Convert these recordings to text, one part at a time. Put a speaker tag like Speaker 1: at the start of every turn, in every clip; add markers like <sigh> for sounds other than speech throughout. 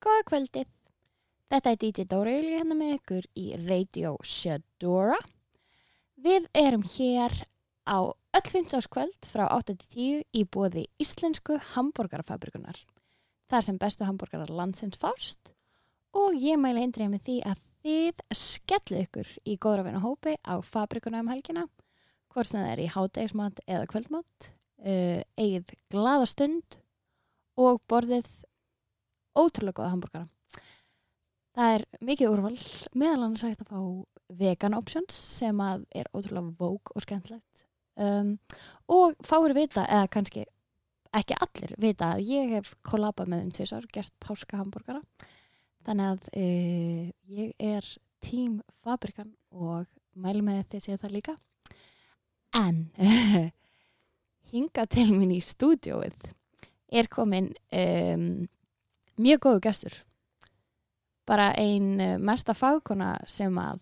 Speaker 1: Góða kvöldi. Þetta er DJ Dóra Júli hérna með ykkur í Radio Shadora. Við erum hér á öll 15. kvöld frá 8 til 10 í bóði Íslensku Hamborgarafabrikunar. Þar sem bestu hamborgarar landsins fást og ég mæli eindrið með því að þið skellu ykkur í góðra vina hópi á fabrikuna um helgina hvort sem það er í hádegismat eða kvöldmat, uh, eigið glaða stund og borðið ótrúlega góða hambúrgara. Það er mikið úrval, meðal annars hægt að fá vegan options sem að er ótrúlega vók og skemmtlegt. Um, og fáir vita, eða kannski ekki allir vita að ég hef kollabað með um tvisar, gert páska hambúrgara. Þannig að uh, ég er tím fabrikan og mælu með því að segja það líka. En <laughs> hinga til mín í stúdióið er komin um, mjög góðu gestur. Bara ein eh, mesta fagkona sem að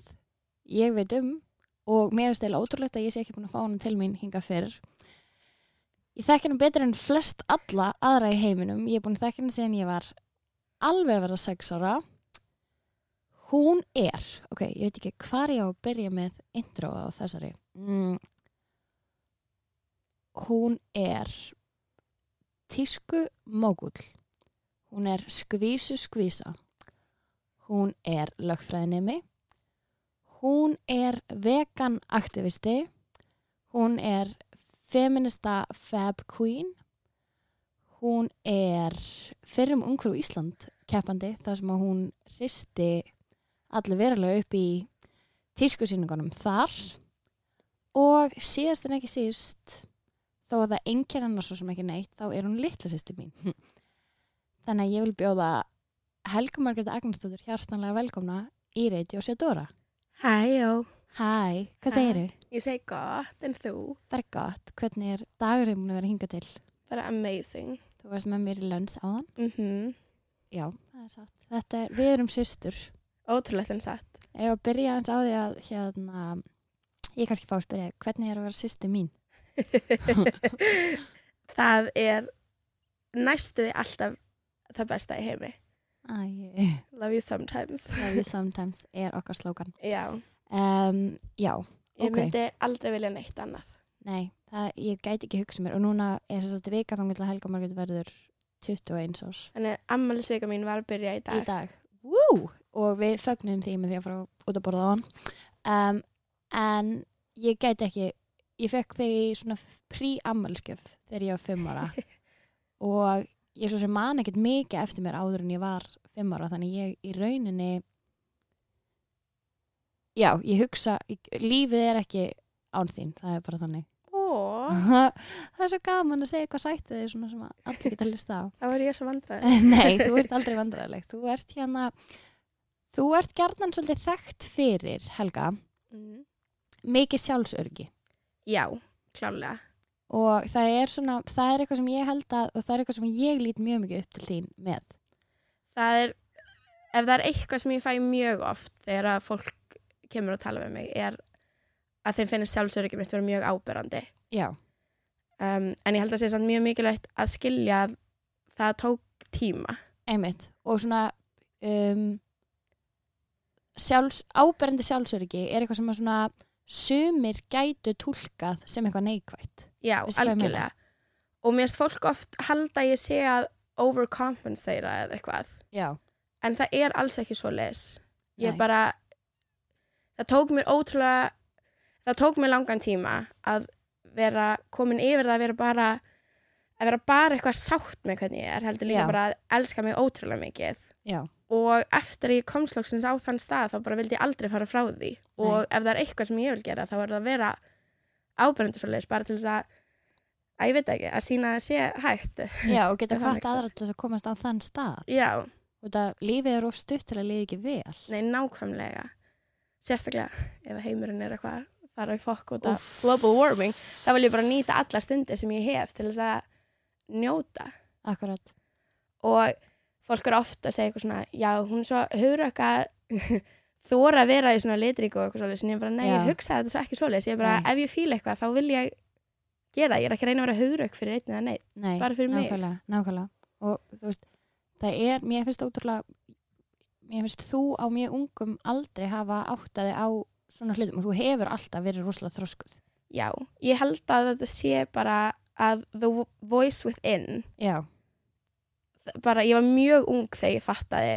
Speaker 1: ég veit um og mér finnst eða ótrúlegt að ég sé ekki búin að fá hana til mín hinga fyrir. Ég þekk hana betur en flest alla aðra í heiminum. Ég er búin að þekk hana síðan ég var alveg að vera sex ára. Hún er, ok, ég veit ekki hvar ég á að byrja með intro á þessari. Mm. Hún er tísku mógull. Hún er skvísu skvísa. Hún er lögfræðinemi. Hún er vegan aktivisti. Hún er feminista fab queen. Hún er fyrrum ungrú Ísland keppandi þar sem að hún hristi allir verulega upp í tískusýningunum þar. Og síðast en ekki síðust, þó að það enginn annars svo sem ekki neitt, þá er hún litla sýsti mín. Þannig að ég vil bjóða Helga Margrét Agnarsdóttir hjartanlega velkomna í Radio Sedora.
Speaker 2: Hæjó.
Speaker 1: Hæ, hvað
Speaker 2: Hæ.
Speaker 1: segiru?
Speaker 2: Ég segi gott en þú.
Speaker 1: Það er gott. Hvernig er dagurinn búin að vera hingað til?
Speaker 2: Bara amazing.
Speaker 1: Þú varst með mér í lönns áðan.
Speaker 2: Mm
Speaker 1: Já, það er satt. Þetta er, við erum systur.
Speaker 2: Ótrúlegt en
Speaker 1: <laughs>
Speaker 2: satt.
Speaker 1: Ég var að byrja aðeins á því að hérna, ég kannski fá að spyrja, hvernig er að vera systur mín?
Speaker 2: það er næstuði alltaf það besta í heimi.
Speaker 1: Æ,
Speaker 2: Love you sometimes.
Speaker 1: love you <laughs> sometimes er okkar slókan.
Speaker 2: Já,
Speaker 1: Um, já,
Speaker 2: ég
Speaker 1: Ok.
Speaker 2: myndi aldrei vilja neitt annað.
Speaker 1: Nei, það, ég gæti ekki hugsa mér og núna er þess að vika þannig að Helga Margrét verður 21 árs
Speaker 2: Þannig að ammælisvika mín var að byrja í dag.
Speaker 1: í dag. Woo! Og við fögnum því með því að fara út að borða á hann. Um, en ég gæti ekki, ég fekk þig í svona príammölskjöf þegar ég var fimm ára. og ég svo sem man ekkert mikið eftir mér áður en ég var fimm ára. Þannig ég í rauninni, já, ég hugsa, ég- lífið er ekki án þín, það er bara þannig.
Speaker 2: Ó,
Speaker 1: <laughs> það er svo gaman að segja eitthvað sætt við þig svona sem að allir geta að á.
Speaker 2: það var ég svo vandrað.
Speaker 1: <laughs> Nei, þú ert aldrei vandræðileg. Þú ert hérna, þú ert gjarnan svolítið þekkt fyrir, Helga,
Speaker 2: Mm.
Speaker 1: mikið sjálfsörgi.
Speaker 2: Já, klálega.
Speaker 1: Og það er svona, það er eitthvað sem ég held að, og það er eitthvað sem ég lít mjög mikið upp til þín með.
Speaker 2: Það er, ef það er eitthvað sem ég fæ mjög oft þegar að fólk kemur og tala með mig er að þeim finnir sjálfsöryggi mitt vera mjög ábyrrandi.
Speaker 1: Já,
Speaker 2: um, en ég held að sé samt mjög mikilvægt að skilja að það tók tíma
Speaker 1: einmitt. Og svona, um, sjálfs, áberandi sjálfsörgi er eitthvað sem að svona, sumir gætu túlkað sem eitthvað neikvætt.
Speaker 2: já,
Speaker 1: Veistu hvað ég
Speaker 2: algjörlega og mér finnst fólk oft halda að ég sé að overcompensera eða eitthvað
Speaker 1: Já,
Speaker 2: en það er alls ekki svo les ég
Speaker 1: Nei.
Speaker 2: bara það tók mér ótrúlega það tók mér langan tíma að vera komin yfir það að vera bara að vera bara eitthvað sátt með hvernig ég er heldur líka
Speaker 1: Já.
Speaker 2: bara að elska mig ótrúlega mikið
Speaker 1: <laughs> já,
Speaker 2: og eftir að ég kom slóksins á þann stað þá bara vildi ég aldrei fara frá því og ef það er eitthvað sem ég vil gera þá er það að vera ábyrgandi svo leiðis bara til þess að að ég veit ekki, að sína að sé hægt
Speaker 1: já, og geta
Speaker 2: Það
Speaker 1: hvað
Speaker 2: mixar.
Speaker 1: aðra til þess að komast á þann stað.
Speaker 2: já,
Speaker 1: Þú veit að lífið er of stutt til að liði ekki vel.
Speaker 2: nei, nákvæmlega sérstaklega ef að heimurinn er eitthvað að fara í fokk út af
Speaker 1: Úff.
Speaker 2: global warming þá vil ég bara nýta alla stundir sem ég hef til þess að njóta
Speaker 1: Akkurat.
Speaker 2: og fólk er ofta að segja eitthvað svona já, hún er svo hugur <laughs> þóra að vera í svona litríku og eitthvað svoleiðis en ég bara, nei,
Speaker 1: Já.
Speaker 2: ég hugsaði þetta svo ekki svoleiðis ég bara,
Speaker 1: Nei.
Speaker 2: ef ég fíla eitthvað, þá vil ég gera það, ég er ekki að reyna að vera hugur fyrir einn eða neitt
Speaker 1: Nei,
Speaker 2: Bara fyrir mig.
Speaker 1: nákvæmlega, nákvæmlega. Og þú veist, það er, mér finnst ótrúlega mér finnst þú á mjög ungum aldrei hafa áttaði á svona hlutum og þú hefur alltaf verið rosalega þroskuð
Speaker 2: Já, ég held að þetta sé bara að the voice within
Speaker 1: já,
Speaker 2: bara ég var mjög ung þegar ég fattaði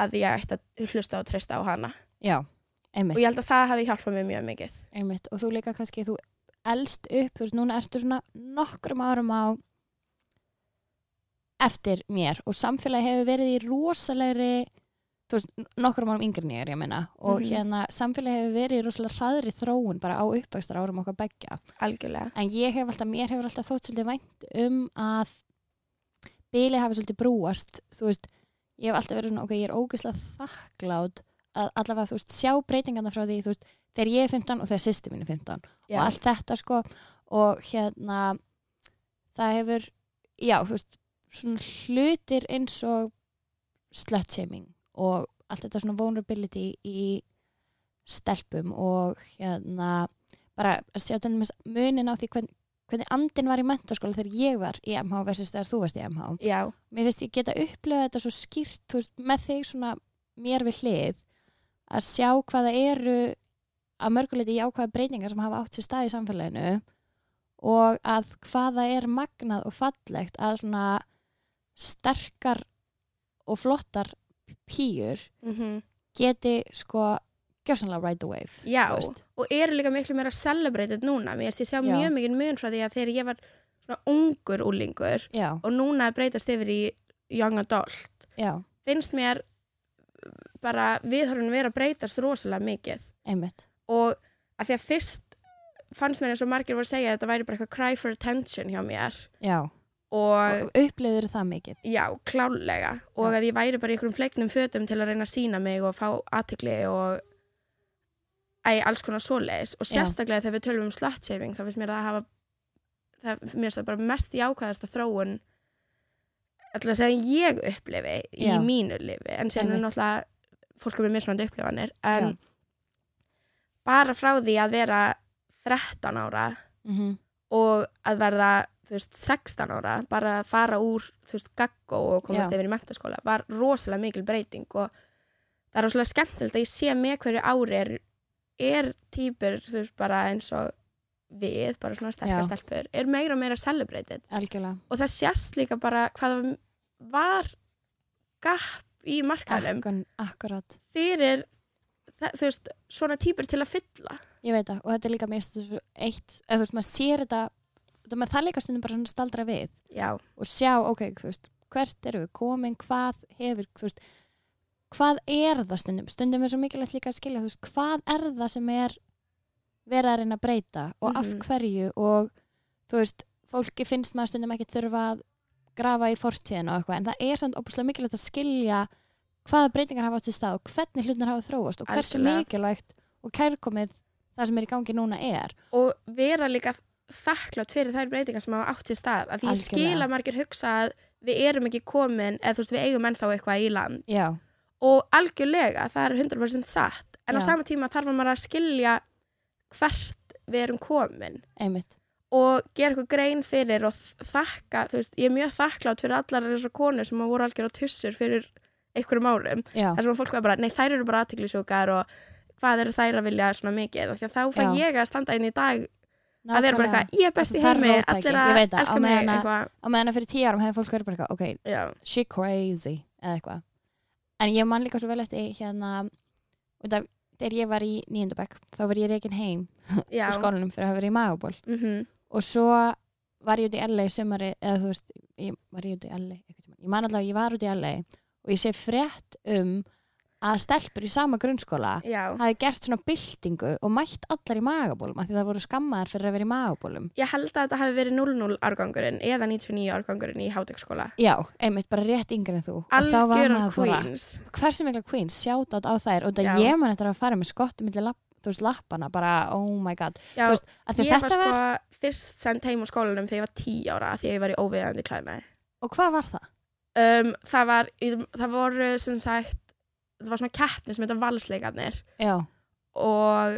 Speaker 2: að ég ætti að hlusta og treysta á hana
Speaker 1: já,
Speaker 2: og ég
Speaker 1: einmitt,
Speaker 2: held að það hafi hjálpað mér mjög mikið
Speaker 1: einmitt og þú líka kannski, þú elst upp þú veist, núna ertu svona nokkrum árum á eftir mér og samfélagi hefur verið í rosalegri þú veist, nokkrum árum yngri nýjar, ég meina og
Speaker 2: Mhm.
Speaker 1: hérna, samfélagi hefur verið í rosalega hraðri þróun bara á uppvækstar árum okkar begja
Speaker 2: algjörlega,
Speaker 1: en ég hef alltaf, mér hefur alltaf þótt svolítið vænt um að bíli hafi svolítið brúast þú veist, ég hef alltaf verið svona ok, ég er ógeðslega þakklátt að allavega þú veist, sjá breytingarna frá því þú veist, þegar ég er 15 og þegar sýsti mín er 15
Speaker 2: já,
Speaker 1: og allt þetta sko og hérna það hefur, já þú veist svona hlutir eins og slutshaming og allt þetta svona vulnerability í stelpum og hérna bara að sjá til dæmis munin á því hvern, hvernig andin var í mentaskóla þegar ég var í MH versus þegar þú varst í MH
Speaker 2: já,
Speaker 1: mér finnst ég geta upplifað þetta svo skýrt þú veist, með þig svona mér við hlið að sjá hvaða eru að mörguleiti jákvæða breytingar sem hafa átt sér stað í samfélaginu og að hvaða er magnað og fallegt að svona sterkar og flottar pýjur
Speaker 2: mm
Speaker 1: geti sko gjörsanlega ride the wave
Speaker 2: já
Speaker 1: þú veist.
Speaker 2: og eru líka miklu meira celebrated núna mér finnst ég sjá
Speaker 1: Já.
Speaker 2: mjög mikið mun frá því að þegar ég var svona ungur úlingur
Speaker 1: já,
Speaker 2: og núna að breytast yfir í young adult
Speaker 1: já,
Speaker 2: finnst mér bara viðhorfinu vera að breytast rosalega mikið
Speaker 1: einmitt
Speaker 2: og að því að fyrst fannst mér eins og margir voru að segja að þetta væri bara eitthvað cry for attention hjá mér
Speaker 1: já,
Speaker 2: og
Speaker 1: og upplifður það mikið
Speaker 2: já, klálega og
Speaker 1: Já.
Speaker 2: að ég væri bara í einhverjum fleiknum fötum til að reyna að sína mig og fá aðtikli og æ, alls konar svoleiðis og
Speaker 1: Já.
Speaker 2: sérstaklega þegar við tölum um slutshaving þá finnst mér það að hafa það, mér finnst það bara mest jákvæðasta þróun alltaf sem ég upplifi
Speaker 1: Já.
Speaker 2: í mínu lifi en sem er
Speaker 1: Einmitt.
Speaker 2: náttúrulega fólk er með mismandi upplifanir en bara frá því að vera 13 ára
Speaker 1: mm -hmm.
Speaker 2: og að verða þú veist, 16 ára, bara að fara úr þú veist, gaggó og komast
Speaker 1: Já.
Speaker 2: yfir í mentaskóla var rosalega mikil breyting og það er rosalega skemmtilegt að ég sé með hverju ári er, er týpur, þú veist, bara eins og við, bara svona sterkar
Speaker 1: Já.
Speaker 2: stelpur er meira og meira celebrated
Speaker 1: algjörlega
Speaker 2: og það sést líka bara hvað það var gap í markaðum
Speaker 1: Akkun, akkurat
Speaker 2: fyrir það, þú veist, svona týpur til að fylla
Speaker 1: Ég veit það og þetta er líka mér finnst þetta svo eitt eða þú veist maður sér þetta þú veist, það er líka stundum bara svona staldra við
Speaker 2: já,
Speaker 1: og sjá ok, þú veist, hvert eru við komin hvað hefur, þú veist hvað er það stundum, stundum er svo mikilvægt líka að skilja, þú veist, hvað er það sem er verið að reyna að breyta og
Speaker 2: Mhm.
Speaker 1: af hverju og þú veist, fólki finnst maður stundum ekki þurfa að grafa í fortíðin og eitthvað, en það er samt opuslega mikilvægt að skilja hvaða breytingar hafa átt í stað og hvernig hlutin hafa þróast og hversu
Speaker 2: Algjörlega.
Speaker 1: mikilvægt og kærkomið það sem er í gangi núna er
Speaker 2: og vera líka þakklátt fyrir þær breytingar sem hafa átt sér stað að því ég
Speaker 1: Algjörlega.
Speaker 2: skila margir hugsa að við erum ekki komin eða þú veist við eigum ennþá eitthvað í land
Speaker 1: Já,
Speaker 2: og algjörlega það er 100% satt en á
Speaker 1: Já.
Speaker 2: sama tíma þarf maður að skilja hvert við erum komin
Speaker 1: einmitt,
Speaker 2: og gera eitthvað grein fyrir og þ- þakka, þú veist, ég er mjög þakklátt fyrir allar þessar konur sem voru algjör á tussur fyrir einhverjum árum
Speaker 1: já,
Speaker 2: þar sem að fólk var bara, nei þær eru bara aðtiklisjókar og hvað eru þær að vilja svona mikið af því að þá fæ
Speaker 1: Já.
Speaker 2: ég að standa inn í dag að vera bara
Speaker 1: nákvæmlega.
Speaker 2: eitthvað, ég er best í
Speaker 1: Það er
Speaker 2: heimi
Speaker 1: róttæki, ég
Speaker 2: allir að
Speaker 1: veit það, á
Speaker 2: elska mig
Speaker 1: meðan að-
Speaker 2: eitthvað
Speaker 1: á meðan að fyrir tíu árum hefði fólk verið bara eitthvað, ok,
Speaker 2: já,
Speaker 1: she crazy eða eitthvað en ég man líka svo vel eftir hérna út af þegar ég var í nýjöndabæk þá var ég reikin heim
Speaker 2: já,
Speaker 1: úr skólanum fyrir að hafa verið í magaból
Speaker 2: mm
Speaker 1: og svo var ég út í LA í sumari eða þú veist, ég var ég út í LA einhvern tímann. ég man allavega, að ég var út í LA og ég sé frétt um að stelpur í sama grunnskóla
Speaker 2: já
Speaker 1: hafi gert svona byltingu og mætt allar í magabólum af því það voru skammaðar fyrir að vera í magabólum
Speaker 2: ég held að þetta hafi verið 00 árgangurinn eða 99 árgangurinn í hátekskóla
Speaker 1: já, einmitt bara rétt yngri en þú og þá var
Speaker 2: algjörar
Speaker 1: maður bara
Speaker 2: queens
Speaker 1: hversu mikla queen, sjátt á þær og
Speaker 2: Já.
Speaker 1: það ég man eftir að fara með skottum milli lapp, þú veist, lappana, bara oh my god,
Speaker 2: já,
Speaker 1: þú veist, að því
Speaker 2: ég var
Speaker 1: þetta
Speaker 2: sko
Speaker 1: var
Speaker 2: fyrst sendt heim úr skólanum þegar ég var 10 ára því að ég var í óviðandi klæðnaði
Speaker 1: og hvað var það?
Speaker 2: um, það var, í- það voru sem sagt, það var svona keppni sem þetta valsleikarnir
Speaker 1: Já,
Speaker 2: og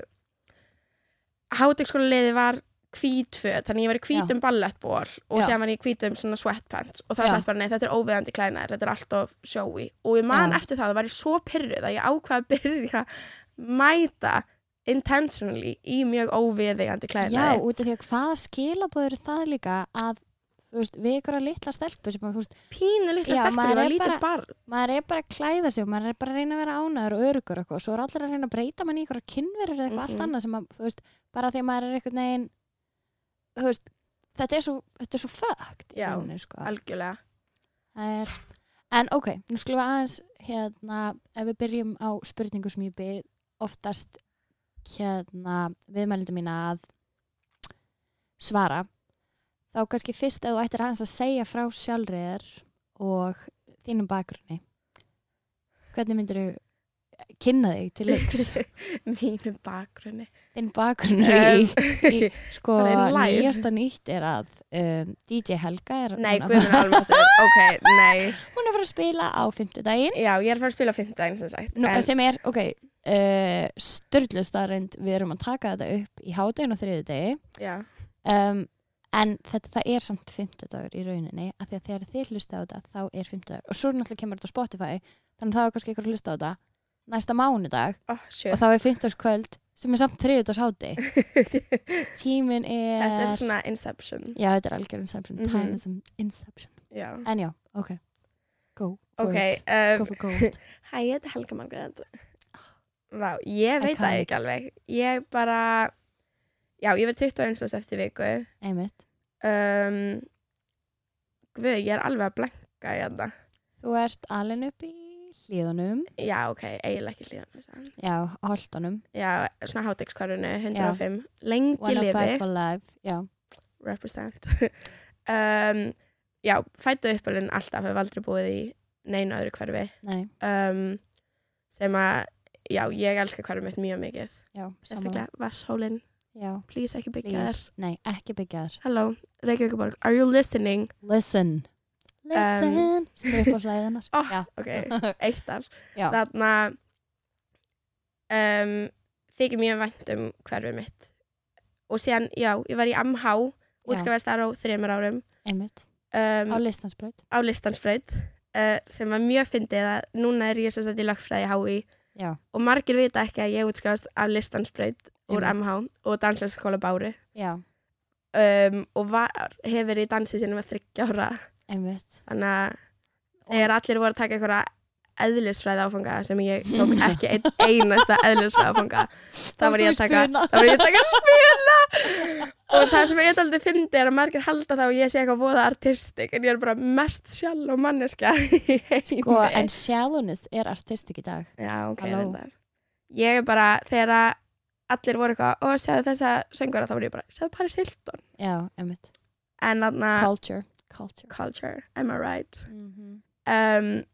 Speaker 2: hátekskóla liði var hvít föt, þannig ég var í hvítum ballettból og
Speaker 1: Já.
Speaker 2: síðan var ég í hvítum svona sweatpants og það
Speaker 1: Já.
Speaker 2: sætt bara, nei, þetta er óviðandi klænar þetta er alltof sjói og ég man
Speaker 1: Já.
Speaker 2: eftir það, það var ég svo pyrruð að ég ákvað að byrja að mæta intentionally í mjög óviðeigandi
Speaker 1: Já,
Speaker 2: klæðnaði,
Speaker 1: út af því að hvað skilabóður það líka að, þú veist, við ykkur að litla stelpu sem að, þú veist,
Speaker 2: pínu litla
Speaker 1: Já,
Speaker 2: stelpur,
Speaker 1: maður
Speaker 2: ég var
Speaker 1: er
Speaker 2: lítið
Speaker 1: bara-
Speaker 2: barn
Speaker 1: maður er bara að klæða sig og maður er bara að reyna að vera ánæður og örugur og eitthvað, svo er allir að reyna að breyta mann í ykkur kynverur eða eitthvað
Speaker 2: Mhm.
Speaker 1: allt annað sem að, þú veist, bara því að maður er eitthvað negin, þú veist, þetta er svo, þetta er svo fucked í
Speaker 2: Já,
Speaker 1: rauninni, sko.
Speaker 2: algjörlega,
Speaker 1: Það er, en ok, nú skulum við aðeins hérna, ef við byrjum á spurningu sem ég byrð oftast hérna viðmælindu mína að svara þá kannski fyrst að þú ættir aðeins að segja frá sjálfriðar og þínum bakgrunni hvernig myndir þú kynna þig til
Speaker 2: <laughs>
Speaker 1: leiks
Speaker 2: mínu bakgrunni
Speaker 1: þinn bakgrunni í, í sko
Speaker 2: Um, <laughs> bara in life.
Speaker 1: nýjasta nýtt er að um, DJ Helga er
Speaker 2: Nei,
Speaker 1: hún,
Speaker 2: guðminn alveg
Speaker 1: <laughs>
Speaker 2: ok, nei,
Speaker 1: að, hún er að fara að spila á fimmtudaginn
Speaker 2: já, ég er að fara að spila á fimmtudaginn sem sagt,
Speaker 1: Nú,
Speaker 2: en
Speaker 1: sem er, ok, uh, störlustarind, við erum að taka þetta upp í hádegin og þriði degi
Speaker 2: já,
Speaker 1: um, en þetta, það er samt fimmtudagur í rauninni af því að þegar þið hlusta á þetta þá er fimmtudagur og svo náttúrulega kemur þetta á Spotify þannig að það er kannski ykkur að hlusta á þetta næsta mánudag
Speaker 2: ó, sjö
Speaker 1: og þá er fimmtudagskvöld sem er samt þriðudags hádi
Speaker 2: <laughs>
Speaker 1: <laughs> tímin er,
Speaker 2: þetta er svona Inception
Speaker 1: já, þetta er algjör inception
Speaker 2: Mhm.
Speaker 1: time is an inception
Speaker 2: já,
Speaker 1: en já, ok, go for
Speaker 2: ok,
Speaker 1: it.
Speaker 2: um,
Speaker 1: go for
Speaker 2: <laughs>
Speaker 1: gold
Speaker 2: Hæ, ég heiti Helga Margrét. Vá, ég veit það
Speaker 1: Iconic.
Speaker 2: ekki alveg. Ég bara, já, ég verð 21 árs eftir viku.
Speaker 1: einmitt,
Speaker 2: Um, Guð, ég er alveg að blenka hérna.
Speaker 1: þú ert alin upp í hlíðunum
Speaker 2: Já, ok, eiginlega ekki hlýðan með það.
Speaker 1: Já, á Holtunum
Speaker 2: Já, svona hátekskvarunu, 105. Lengi lifi,
Speaker 1: 105 for life Já,
Speaker 2: represent. <laughs> um, já, fættu uppalinn alltaf, hef aldrei búið í neina öðru hverfi.
Speaker 1: nei,
Speaker 2: Um, sem að, já, ég elska hverfið mitt mjög mikið.
Speaker 1: já,
Speaker 2: Sérstaklega, vasshólinn,
Speaker 1: Já,
Speaker 2: please ekki byggja þess.
Speaker 1: please, nei, ekki byggja þér
Speaker 2: Hello, Reykjavíkuborg, are you listening?
Speaker 1: Listen Listen, um. skrif upp á hlæðinar
Speaker 2: <laughs> Oh.
Speaker 1: Já, <laughs>
Speaker 2: Ok, eitt af.
Speaker 1: Já.
Speaker 2: Þarna um, þykir mjög vænt um hverfið mitt. Og síðan, já, ég var í MH, útskrifast þar á þreymur árum,
Speaker 1: einmitt
Speaker 2: um,
Speaker 1: Á listansbraut
Speaker 2: á listansbreyt, uh, sem var mjög fyndið að núna er ég sem sagt í lögfræði hái
Speaker 1: Já,
Speaker 2: og margir vita ekki að ég útskrifast af listansbreyt úr
Speaker 1: Einmitt.
Speaker 2: MH og danslæsskóla Bári
Speaker 1: já,
Speaker 2: um, og var, hefur verið í dansi sinni með þryggja ára.
Speaker 1: einmitt
Speaker 2: þannig að þegar allir voru að taka einhverja eðlisfræði áfanga sem ég tók ekki einn einasta eðlisfræði áfanga þá var ég að taka þá var ég að taka spila og það sem ég er aldrei fyndi er að margir halda þá að ég sé eitthvað voða artistik en ég er bara mest sjálf og manneska í heimi
Speaker 1: Sko, en sjálfunist er artistik í dag
Speaker 2: já, ok,
Speaker 1: Halló.
Speaker 2: reyndar. ég er bara þegar að allir voru eitthvað og segðu þessa söngara þá var ég bara segðu Paris Hilton
Speaker 1: Já, einmitt
Speaker 2: en þarna
Speaker 1: Culture Culture
Speaker 2: Ah. culture, am I right
Speaker 1: mm -hmm.
Speaker 2: um,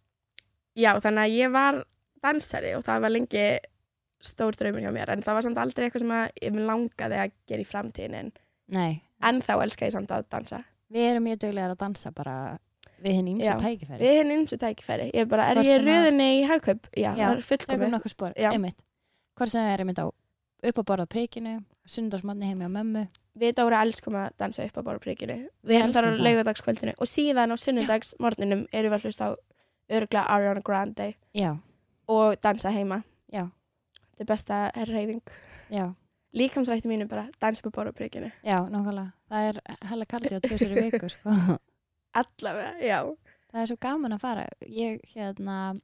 Speaker 2: já, þannig að ég var dansari og það var lengi stór draumur hjá mér en það var samt aldrei eitthvað sem að ég mig langaði að gera í framtíðin en,
Speaker 1: Nei,
Speaker 2: en þá elska ég samt að dansa
Speaker 1: við erum mjög duglegar að dansa bara við hinn ímsa
Speaker 2: Já,
Speaker 1: tækifæri
Speaker 2: við hinn eins og tækifæri ég bara, er
Speaker 1: Hvort
Speaker 2: ég
Speaker 1: sem að-
Speaker 2: röðinni í hagkaup? Já,
Speaker 1: Já,
Speaker 2: það er
Speaker 1: tökum
Speaker 2: fullkomið
Speaker 1: nokkuð spór,
Speaker 2: Já.
Speaker 1: einmitt hvort sem það er einmitt á upp að borða prikinu sundarsmanni heimi á mömmu
Speaker 2: við Dóra elskum að dansa upp á borðprikinu
Speaker 1: Við
Speaker 2: við erum þar á
Speaker 1: elskum það.
Speaker 2: laugardagskvöldinu og síðan á sunnudags morgninum erum við að hlusta á örgla Ariana Grande
Speaker 1: já,
Speaker 2: og dansa heima
Speaker 1: Já.
Speaker 2: þetta er besta reyfing
Speaker 1: já,
Speaker 2: líkamsrætti mínu bara dansa upp á borðprikinu
Speaker 1: já, nákvæmlega það er hella kardíó tvisur í viku sko.
Speaker 2: <laughs>
Speaker 1: það
Speaker 2: allavega, já
Speaker 1: er svo gaman að fara ég hérna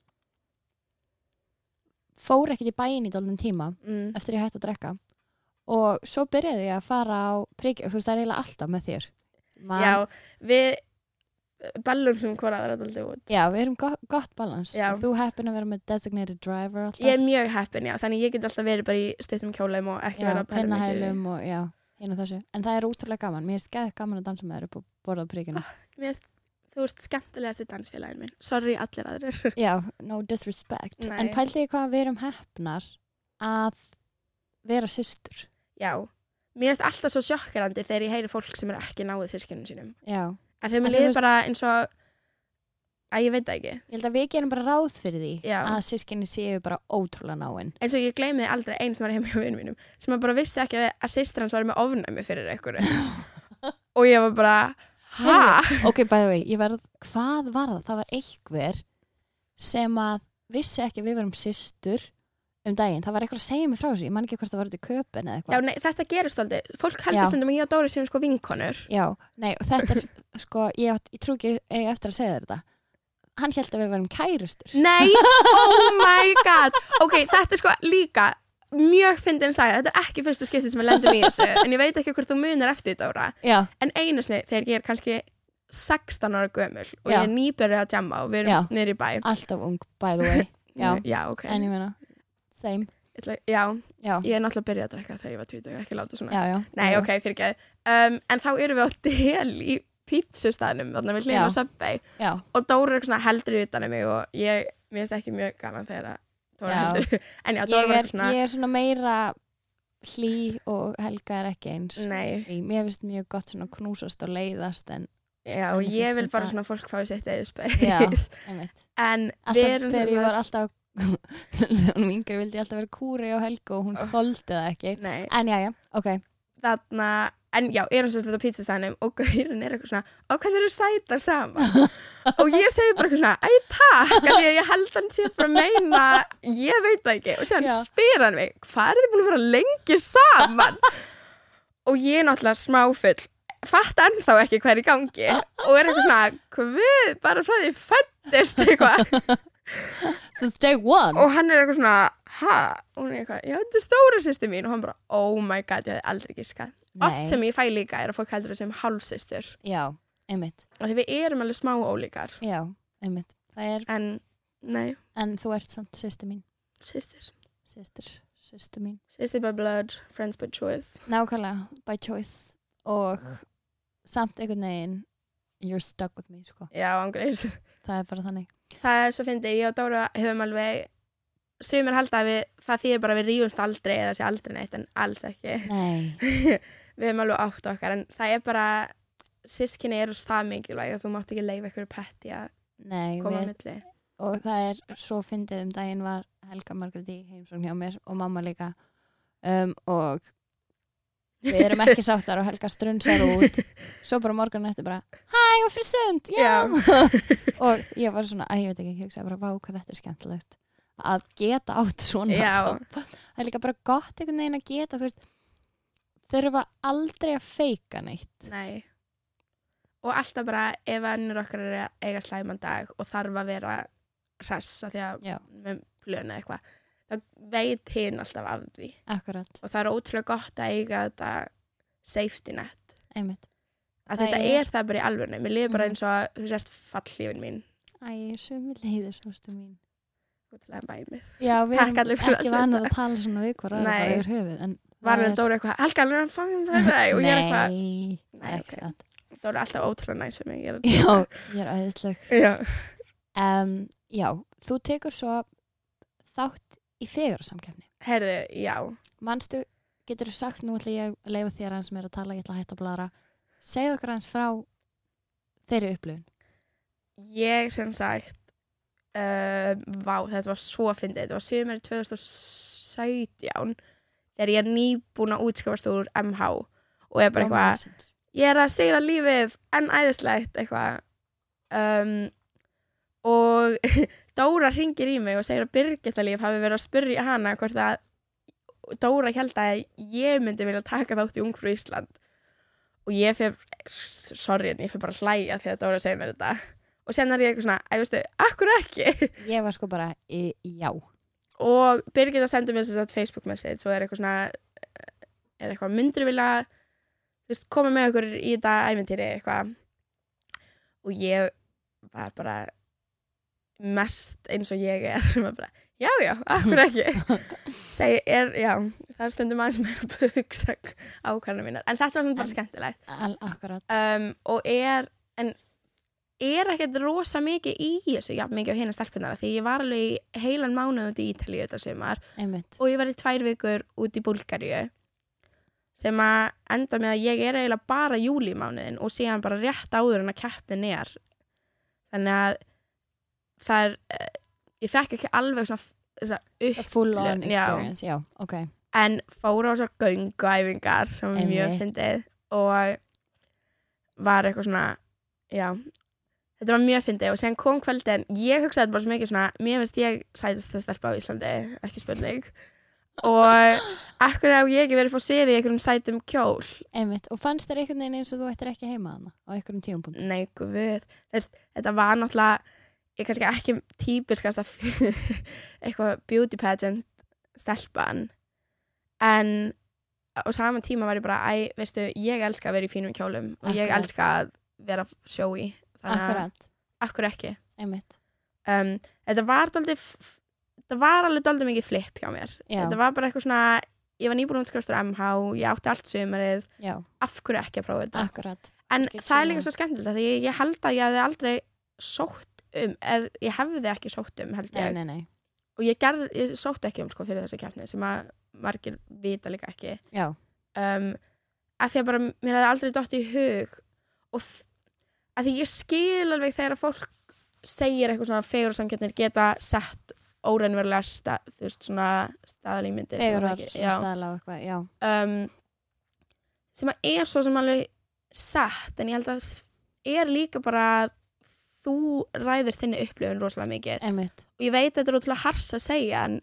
Speaker 1: fór ekkert í bæin í dólnum tíma
Speaker 2: mm.
Speaker 1: eftir ég hætti að drekka og svo byrjaði ég að fara á prikinu þú veist það er eiginlega alltaf með þér Man,
Speaker 2: Já, við ballum sem hvora aðra daldi út.
Speaker 1: já, við erum gott, gott balans
Speaker 2: Já.
Speaker 1: þú heppin að vera með designated driver alltaf
Speaker 2: Ég er mjög heppin, já, þannig ég get alltaf verið bara í stuttum kjólum og ekki
Speaker 1: já,
Speaker 2: verið að perra mikið.
Speaker 1: pinnahælum og já, hinn og þessu en það er útrúlega gaman, mér er skæð gaman að dansa með þér upp og borða
Speaker 2: <laughs>
Speaker 1: príkinu
Speaker 2: Mér finnst, þú ert skemmtilegasti dansfélagin minn. Sorry allir aðrir.
Speaker 1: já, no disrespect
Speaker 2: Nei.
Speaker 1: en pældi ég hvað við erum hefnar að vera systur
Speaker 2: já, mér finnst alltaf svo sjokkarandi þegar ég heyri fólk sem er ekki náðið sískinu sínum.
Speaker 1: já,
Speaker 2: En þegar
Speaker 1: En
Speaker 2: mér
Speaker 1: þú
Speaker 2: liður
Speaker 1: veist-
Speaker 2: bara eins og að ég veit það ekki
Speaker 1: Ég held að við gerum bara ráð fyrir því
Speaker 2: Já.
Speaker 1: að sískinni séu bara ótrúlega náinn.
Speaker 2: eins og ég gleymiði aldrei einn sem var heima hjá vinnum mínum sem að bara vissi ekki að, að sýstir hans var með ofnæmi fyrir einhverju
Speaker 1: <laughs>
Speaker 2: og ég var bara, ha?
Speaker 1: Ok, by the way, ég verð, hvað var það? Það var einhver sem að vissi ekki að við verum systur um daginn. Það var eitthvað að segja mig frá þessu. Ég man ekki hvort það var út í köpun eða
Speaker 2: Já,
Speaker 1: eitthvað.
Speaker 2: nei, þetta gerist aldrei fólk
Speaker 1: Já.
Speaker 2: heldur stundum að ég og Dóri séum sko vinkonur
Speaker 1: Já, nei, og þetta er, sko, ég, átt, ég trú ekki ég eftir að segja þér þetta. Hann held að við verum kærustur.
Speaker 2: Nei, oh my god Ok, þetta er sko líka mjög fyndið um sagði, þetta er ekki fyrsta skiptið sem við lendum í þessu, en ég veit ekki hvort þú munar eftir því, Dóra,
Speaker 1: <laughs> Já,
Speaker 2: en einu sinni þegar ég er kannski 16 ára gömul og
Speaker 1: Já.
Speaker 2: ég er nýbyrðið að jamma og við
Speaker 1: Já.
Speaker 2: erum niður í bæ
Speaker 1: alltaf ung, by the way. Já.
Speaker 2: já, ok
Speaker 1: En ég meina, same.
Speaker 2: Ég ætla- Já,
Speaker 1: Já,
Speaker 2: ég er náttúrulega byrjað að drekka þegar ég var 20, ekki láta svona
Speaker 1: já, já.
Speaker 2: Nei,
Speaker 1: já.
Speaker 2: ok, fyrir ekki um, En þá erum við á del í pítsustæðnum þannig
Speaker 1: Já.
Speaker 2: við hliðum á Subway
Speaker 1: Já,
Speaker 2: og Dóra er eitthvað svona heldur utan um mig og ég, mér finnst ekki mjög gaman þegar að Dóra
Speaker 1: Já.
Speaker 2: heldur <laughs> En já, Dóra
Speaker 1: ég
Speaker 2: var
Speaker 1: er,
Speaker 2: eitthvað svona
Speaker 1: ég er svona meira hlý og Helga er ekki eins.
Speaker 2: Nei,
Speaker 1: Í, mér finnst mjög gott svona knúsast og leiðast en
Speaker 2: já,
Speaker 1: En
Speaker 2: ég
Speaker 1: finnst
Speaker 2: vil bara
Speaker 1: þetta-
Speaker 2: svona að fólk fái sitt eða
Speaker 1: Já.
Speaker 2: space <laughs>
Speaker 1: einmitt.
Speaker 2: En við
Speaker 1: alltaf
Speaker 2: erum
Speaker 1: þegar ég
Speaker 2: svona-
Speaker 1: var alltaf <laughs> hún yngri vildi ég alltaf vera kúri og helgu og hún
Speaker 2: Oh.
Speaker 1: þoldi það ekki
Speaker 2: Nei,
Speaker 1: en já, já, ok
Speaker 2: þarna En já, erum svo þetta á pítsastæðanum og gaurinn er eitthvað svona, og hvað þeir eru sætar saman? og ég segi bara eitthvað svona, æ takk, af því að ég held hann sé bara að meina, ég veit það ekki. Og séðan
Speaker 1: Já.
Speaker 2: spyr hann mig, hvað er þið búin að vera lengi saman? og ég er náttúrulega smáfull, fatt ennþá ekki hvað er í gangi og er eitthvað svona, hvað, bara frá því fættist eitthvað.
Speaker 1: so it's day one
Speaker 2: og hann er eitthvað svona ha, og hún er eitthvað, já þetta er stóra sýstir mín og hann bara, oh my god, ég hef aldrei giskað oft sem ég fæ líka er að fólk heldur þessum hálfsýstur,
Speaker 1: já, einmitt,
Speaker 2: af því við erum alveg smá ólíkar,
Speaker 1: já, einmitt það er,
Speaker 2: en nei,
Speaker 1: en þú ert samt sýsti mín
Speaker 2: sýstir
Speaker 1: sýstir, sýsti mín
Speaker 2: sýstir by blood, friends by choice
Speaker 1: nákvæmlega, by choice og samt einhvern veginn you're stuck with me, sko
Speaker 2: já, ángreis,
Speaker 1: það er bara þannig,
Speaker 2: <laughs> það er svo fyndið ég og Dóra hefum alveg sumir halda að við, það þýðir bara að við rífumst aldrei eða sé aldrei neitt, en alls ekki
Speaker 1: nei
Speaker 2: við hefum alveg átt okkar, en það er bara sískinni eru það mikilvæg að þú mátt ekki leifa ykkur petti að
Speaker 1: nei,
Speaker 2: koma
Speaker 1: við
Speaker 2: á milli
Speaker 1: og það er svo fyndið um daginn var Helga Margrét í heimsókn hjá mér og mamma líka um, og við erum ekki sáttar og Helga strunnsar út svo bara morgun eftir bara hæ og fyrir sund, já <laughs> og ég var svona, að ég veit ekki, ég hugsaði bara vá hvað þetta er skemmtilegt að geta átt svona
Speaker 2: Já.
Speaker 1: samband. það er líka bara gott einhvern veginn að geta þú veist, þurfa aldrei að feika neitt
Speaker 2: Nei. Og alltaf bara ef annir okkar er að eiga slæman dag og þarf að vera hressa því að
Speaker 1: Já.
Speaker 2: með plöna eitthvað, þá veit hinn alltaf af því.
Speaker 1: akkurat,
Speaker 2: Og það er ótrúlega gott að eiga þetta safety net.
Speaker 1: einmitt Það
Speaker 2: Að þetta
Speaker 1: er-
Speaker 2: er, það bara í alvörinu. Mér liður bara
Speaker 1: Mhm.
Speaker 2: eins og að þú sért fallífin mín
Speaker 1: Æ, sumi leiðis, ástu mín
Speaker 2: útrúlega mæmið.
Speaker 1: Já, við
Speaker 2: Takk
Speaker 1: erum
Speaker 2: allir fyrir að
Speaker 1: ekki
Speaker 2: hlusta.
Speaker 1: vanar að tala svona við hvora aðra
Speaker 2: Nei.
Speaker 1: bara yfir höfuð en
Speaker 2: Var alveg Dóra eitthvað, Helga, alveg hann fangum þetta og ég er eitthvað,
Speaker 1: Nei, það
Speaker 2: Nei,
Speaker 1: er ekki
Speaker 2: ok.
Speaker 1: satt <laughs>
Speaker 2: Dóra er alltaf ótrúlega næs fyrir mig. Ég er að-
Speaker 1: Já, ég er aðeinsleg
Speaker 2: Já.
Speaker 1: um, Já, þú tekur svo þátt í fegurarsamkefni
Speaker 2: Herðu, já.
Speaker 1: Manstu, getur þú sagt nú ætla ég að leifa þér aðeins meira að tala, ég ætla að hætta að blara Segðu okkur aðeins frá þeirri upplifun
Speaker 2: ég sem sagt uh, vá, þetta var svo fyndið þetta var sömur 2017 þegar ég er nýbúin að útskrifast úr MH og ég er bara eitthvað,
Speaker 1: Romances.
Speaker 2: ég er að segra lífið en æðislegt eitthvað um, og <laughs> Dóra ringir í mig og segir að Birgitta líf hafi verið að spyrja hana hvort að Dóra held að ég myndi vilja taka þátt í Ungfrú Ísland og ég fyrir, sorry en ég fyrir bara að hlæja þegar Dóra segir mér þetta og sen er ég eitthvað svona, æ veistu, akkur ekki
Speaker 1: Ég var sko bara, í, já
Speaker 2: og Birgitta sendur mér þess að Facebook message og er eitthvað svona er eitthvað myndur vilja þú veist, koma með okkur í þetta æventýri eitthvað og ég var bara mest eins og ég er <laughs> Var bara, já já, akkur ekki segi, er, já, það er stundum aðeins meira að hugsa ákvarðanir mínar en þetta var svona bara skemmtilegt
Speaker 1: al- Akkurat
Speaker 2: um, og er en er ekkert rosa mikið í þessu, já, mikið á hérna stelpunar því ég var alveg í heilan mánuð út í Ítalíu þetta sumar
Speaker 1: Einmitt,
Speaker 2: og ég var í tvær vikur út í Búlgaríu sem að enda með að ég er eiginlega bara júlímánuðin og síðan bara rétt áður en að keppnin er þannig að það er, eh, ég fekk ekki alveg svona f- þessa upp,
Speaker 1: Full on
Speaker 2: Já.
Speaker 1: experience, já, ok.
Speaker 2: en fór á þessar gönguæfingar sem er mjög
Speaker 1: Einmitt.
Speaker 2: fyndið og var eitthvað svona já, þetta var mjög fyndið og sen kom kvöldin, ég hugsaði bara svo mikið svona, mér finnst ég sætast það stelpa á Íslandi, ekki spurning og akkur á ég ekki verið fór sviði í einhverjum sætum kjól
Speaker 1: Einmitt, og fannst þér einhvern veginn eins og þú ættir ekki heima hana á einhverjum tíumpunkt?
Speaker 2: Nei, guð, Þess, þetta var náttúrulega ég kannski ekki típiskast af <laughs> eitthvað beauty pageant stelpan en á sama tíma var ég bara, æ, veistu, ég elska að vera í fínum kjólum og ég
Speaker 1: Akkurat.
Speaker 2: elska að vera sjói,
Speaker 1: Akkurat,
Speaker 2: akkur ekki
Speaker 1: einmitt.
Speaker 2: um, þetta var daldið þetta var alveg daldið mikið flip hjá mér
Speaker 1: Já.
Speaker 2: þetta var bara eitthvað svona ég var nýbúin útskrifstur MH, ég átti allt sumarið
Speaker 1: Já,
Speaker 2: af hverju ekki að prófa þetta
Speaker 1: akkurat.
Speaker 2: En
Speaker 1: Ekki
Speaker 2: það er
Speaker 1: trúa
Speaker 2: líka
Speaker 1: því.
Speaker 2: svo skemmtilegt að ég, ég held að ég hefði aldrei sótt um, eð, ég hefði ekki sótt um held
Speaker 1: Nei,
Speaker 2: ég
Speaker 1: nei, nei.
Speaker 2: og ég, gerð, ég sótt ekki um sko fyrir þessa keppni sem að margir vita líka ekki
Speaker 1: Já,
Speaker 2: um, að því að bara mér hefði aldrei dótt í hug og þ- að því ég skil alveg þegar að fólk segir eitthvað svona fegur og samkjöndnir geta sett óreinverulega stað, þú veist svona staðalímyndir
Speaker 1: þegar
Speaker 2: svona
Speaker 1: var
Speaker 2: ekki-
Speaker 1: svona
Speaker 2: já
Speaker 1: staðlega og eitthvað, já.
Speaker 2: um, sem að er svo sem alveg satt en ég held að s- er líka bara að þú ræður þinni upplifun rosalega mikið
Speaker 1: Einmitt,
Speaker 2: og ég veit að þetta er ótrúlega hars að segja en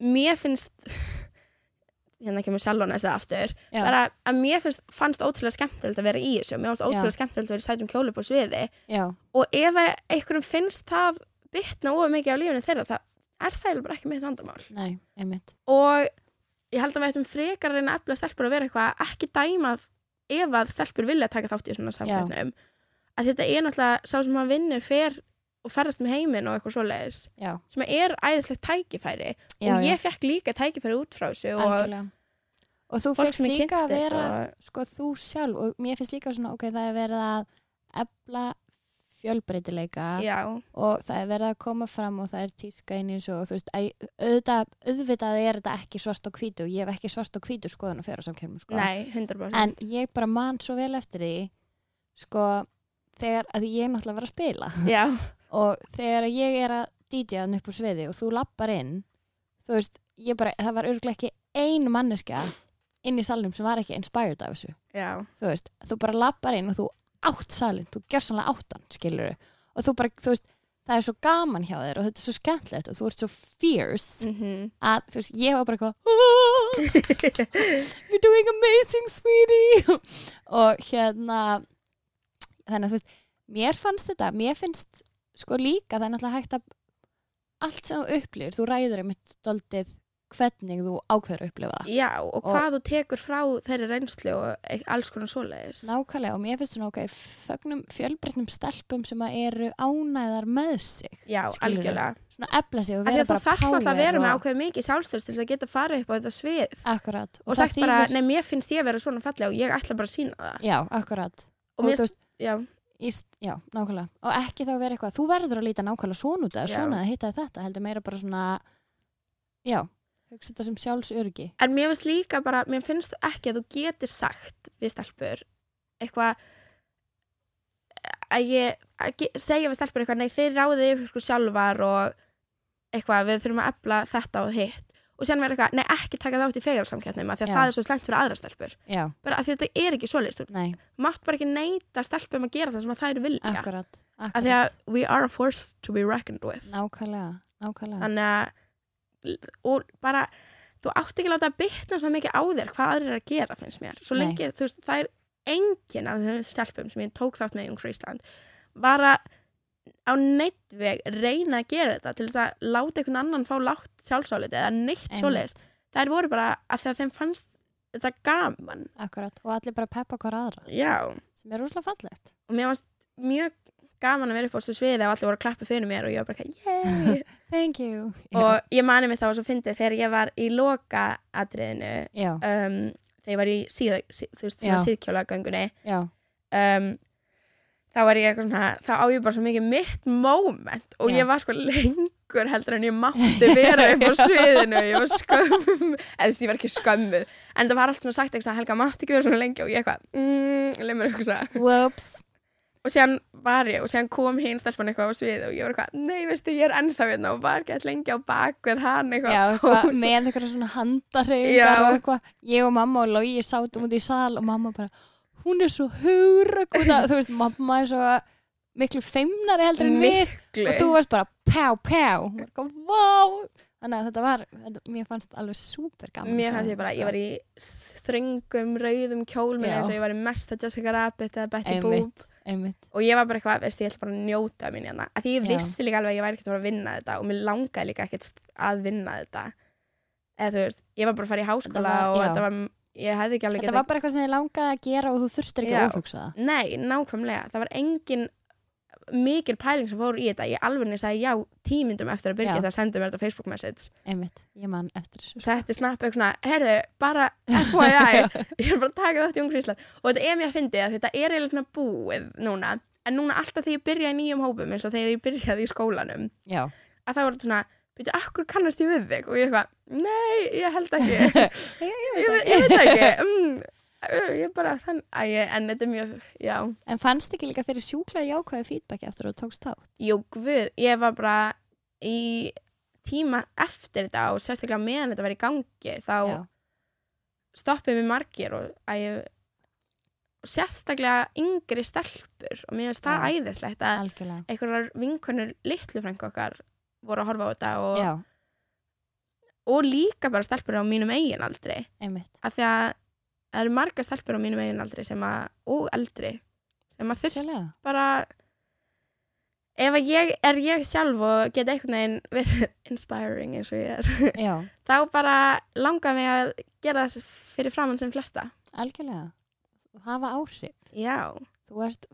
Speaker 2: mér finnst <laughs> hérna kemur sjálfan þess það aftur
Speaker 1: já,
Speaker 2: bara að mér finnst, fannst ótrúlega skemmtilegt að vera í þessu mér fannst ótrúlega skemmtilegt að vera í sætum kjólu upp á sviði
Speaker 1: já,
Speaker 2: og ef að einhverjum finnst það bitna of mikið á lífinu þeirra það er það eiginlega bara ekki mitt vandamál
Speaker 1: nei, einmitt.
Speaker 2: og ég held að við ættum frekar að reyna að efla stelpur að vera eitthvað ekki dæma ef að stelpur vilja taka þátt í svona samkvæmnum að þetta er náttúrulega sá sem maður vinnur fer og ferðast með heiminn og eitthvað svoleiðis
Speaker 1: Já,
Speaker 2: sem er æðislegt tækifæri
Speaker 1: já, já,
Speaker 2: og ég fekk líka tækifæri út frá þessu og
Speaker 1: algjörlega. Og þú
Speaker 2: fólk
Speaker 1: fyrst
Speaker 2: sem ég
Speaker 1: líka að
Speaker 2: kynntist
Speaker 1: vera,
Speaker 2: og,
Speaker 1: sko, þú sjálf, og mér finnst líka svona, ok, það er verið að efla fjölbreytileika
Speaker 2: já,
Speaker 1: og það er verið að koma fram og það er tíska inn eins og þú veist, æ, auðvitað, auðvitað er þetta ekki svart og hvítu og ég hef ekki svart og hvítu skoðan og fyrir á samkjörnum sko.
Speaker 2: nei, 100%
Speaker 1: en ég bara man svo vel eftir því sko, þegar að ég er náttúrulega var að spila
Speaker 2: já,
Speaker 1: og þegar að ég er að DJ hann upp á sviði og þú lappar inn þú veist, ég bara, það var örglega ekki ein manneskja inn í salnum sem var ekki inspired af þessu
Speaker 2: já,
Speaker 1: þú veist, þú bara lappar inn og þú átt salin, þú gjör sannlega áttan, skilur og þú bara, þú veist, það er svo gaman hjá þér og þetta er svo skemmtilegt og þú ert svo fierce
Speaker 2: mm
Speaker 1: að, þú veist, ég var bara eitthvað You're doing amazing, sweetie og hérna þannig að þú veist, mér fannst þetta mér finnst sko líka það er náttúrulega hægt að allt sem þú upplifir, þú ræður einmitt doldið hvernig þú ákveður að upplifa það
Speaker 2: já og
Speaker 1: Og-
Speaker 2: hvað þú tekur frá þeirri reynslu og e- alls konar svoleiðis
Speaker 1: Nákvæmlega og mér finnst svona ok, fögnum fjölbreytnum stelpum sem að eru ánæðar með sig,
Speaker 2: já,
Speaker 1: Skilurðu?
Speaker 2: algjörlega
Speaker 1: svona efla sig og
Speaker 2: Af því
Speaker 1: vera
Speaker 2: að þú
Speaker 1: bara
Speaker 2: þarf náttúrulega að vera með
Speaker 1: og,
Speaker 2: ákveð mikið sjálfstöðs til þess að geta farið upp á þetta svið
Speaker 1: akkurat,
Speaker 2: og
Speaker 1: það
Speaker 2: sagt bara,
Speaker 1: þýðir-
Speaker 2: nei, mér finnst ég vera svona fallega og ég ætla bara að sína það
Speaker 1: Já, akkurat
Speaker 2: og
Speaker 1: og,
Speaker 2: mér,
Speaker 1: þú veist,
Speaker 2: já,
Speaker 1: íst, já, nákvæmlega og ekki þá vera eitthvað, þú verður að líta nákvæmlega svona út eða
Speaker 2: Já.
Speaker 1: svona að hitta þetta, heldur meira bara svona já, hugsa þetta sem sjálfsörgi
Speaker 2: en mér finnst líka bara mér finnst ekki að þú getir sagt við stelpur eitthvað að ég að ge, segja við stelpur eitthvað, nei, þeir ráðið yfir ykkur sjálfar og eitthvað, við þurfum að efla þetta og hitt og sérna verður eitthvað, nei, ekki taka þátt í fegarsamkjarnum því að
Speaker 1: Já.
Speaker 2: það er svo slengt fyrir aðra stelpur
Speaker 1: Já,
Speaker 2: bara að þetta er ekki svoleiðist,
Speaker 1: nei,
Speaker 2: þú mátt bara ekki neita stelpum að gera það sem að þær vilja
Speaker 1: akkurat,
Speaker 2: að því að
Speaker 1: akkurat.
Speaker 2: we are a force to be reckoned with
Speaker 1: nákvæmlega, nákvæmlega
Speaker 2: þannig að og bara, þú átt ekki að láta að bitna svo mikið á þér hvað aðrir er að gera finnst mér, svo
Speaker 1: Nei.
Speaker 2: lengi, þú veist, það er engin af þeim stelpum sem ég tók þátt með í Ungur Ísland, var að á neitt veg reyna að gera þetta til þess að láta einhvern annan fá látt sjálfsálið eða neitt
Speaker 1: Einmitt.
Speaker 2: svoleiðis þær voru bara að þegar þeim fannst þetta gaman,
Speaker 1: akkurat, og allir bara peppa hvar aðra
Speaker 2: já
Speaker 1: sem er rúslega fallegt
Speaker 2: og mér fannst mjög gaman að vera upp á þessu sviði og allir voru að klappa fyrir mér og ég var bara ekki, yey
Speaker 1: Thank you
Speaker 2: og ég mani mig þá að svo fyndið þegar ég var í loka atriðinu
Speaker 1: Já,
Speaker 2: um, þegar ég var í síða, sí, þú veist, svona
Speaker 1: Já.
Speaker 2: síðkjóla gangunni
Speaker 1: já,
Speaker 2: um, þá var ég eitthvað svona þá á ég bara svo mikið mitt moment og
Speaker 1: Já.
Speaker 2: ég var sko lengur heldur en ég
Speaker 1: <laughs>
Speaker 2: mátti vera upp á sviðinu ég var skömm, eða þú veist, ég var ekki skömmuð en það var allt svona sagt eitthvað Helga mátti ekki vera svona lengi og ég eitthvað, mm, leið mér eitthvað
Speaker 1: whoops
Speaker 2: og síðan var ég og síðan kom hinn stelpan eitthvað á svið og ég var eitthvað, nei veistu, ég er ennþá hérna og var gett lengi á bakvið hann eitthvað
Speaker 1: Já, eitthvað,
Speaker 2: Og svo-
Speaker 1: með eitthvað svona
Speaker 2: Já.
Speaker 1: handarhefingar og eitthvað, ég og mamma og Lógi sátum út í sal og mamma bara hún er svo hugrakuta þú veist, mamma er svo miklu feimnari heldur en mig
Speaker 2: miklu
Speaker 1: og þú varst bara pjá, pjá Hún var eitthvað, vá, þannig að þetta var þetta, mér fannst alveg súper gaman
Speaker 2: Mér fannst ég bara, ég var í þröngum, rauðum kjólminn
Speaker 1: Já.
Speaker 2: eins og ég var í mesta Jessica Rabbit eða Betty Boop
Speaker 1: einmitt, einmitt,
Speaker 2: og ég var bara eitthvað, veist, ég ætla bara að njóta mín hérna, af því ég
Speaker 1: Já.
Speaker 2: vissi líka alveg að ég væri ekkert að fara að vinna þetta og mér langaði líka ekkert að vinna þetta eða þú veist, ég var bara að fara í háskóla
Speaker 1: var-
Speaker 2: og
Speaker 1: já.
Speaker 2: þetta var, ég hefði ekki alveg
Speaker 1: þetta var bara eitthvað sem ég langaði að gera og þú þurftir ekki
Speaker 2: Já.
Speaker 1: að ofugsa það
Speaker 2: Nei, nákvæmlega, það var engin mikil pæling sem fór í þetta ég alveg sagði já tímyndum eftir að byrja
Speaker 1: Já.
Speaker 2: þetta sendið mér þetta Facebook message
Speaker 1: einmitt, ég man eftir þessu
Speaker 2: setti snapp eitthvað svona, herðu, bara <laughs> FYI, ég er bara að taka þátt í Ungur Ísland og þetta er mér að fyndi að þetta er eiginlega svona búið núna, en núna alltaf þegar ég byrja í nýjum hópum eins og þegar ég byrjaði í skólanum
Speaker 1: Já,
Speaker 2: að það var þetta svona, byrju, akkur kannast ég við þig og ég eitthvað, nei, ég held ekki <laughs> ég,
Speaker 1: ég
Speaker 2: ég, ég veit ekki <laughs> mm, ég er bara þann Æ, ég- en þetta er mjög, já
Speaker 1: En fannst ekki líka fyrir sjúklega jákvæði feedbacki eftir að þú tókst þátt?
Speaker 2: Jú, guð, ég var bara í tíma eftir þetta og sérstaklega meðan þetta var í gangi þá
Speaker 1: Já.
Speaker 2: stoppuðu mig margir og að ég og sérstaklega yngri stelpur og mér finnst það
Speaker 1: Já.
Speaker 2: æðislegt að
Speaker 1: Algjörlega.
Speaker 2: einhverjar vinkonur litlu frænku okkar voru að horfa á þetta og,
Speaker 1: Já,
Speaker 2: og líka bara stelpur á mínum eigin aldri
Speaker 1: einmitt.
Speaker 2: af því að það eru margar stelpur á mínum eigin aldri sem að, og eldri sem að þurft <laughs>
Speaker 1: Algjörlega.
Speaker 2: bara ef að ég er ég sjálf og get einhvern veginn verið <laughs> inspiring eins og ég er
Speaker 1: Já,
Speaker 2: þá bara langar mig að gera þess fyrir framann sem flesta
Speaker 1: algjörlega. Hafa áhrif.
Speaker 2: já,
Speaker 1: Þú ert,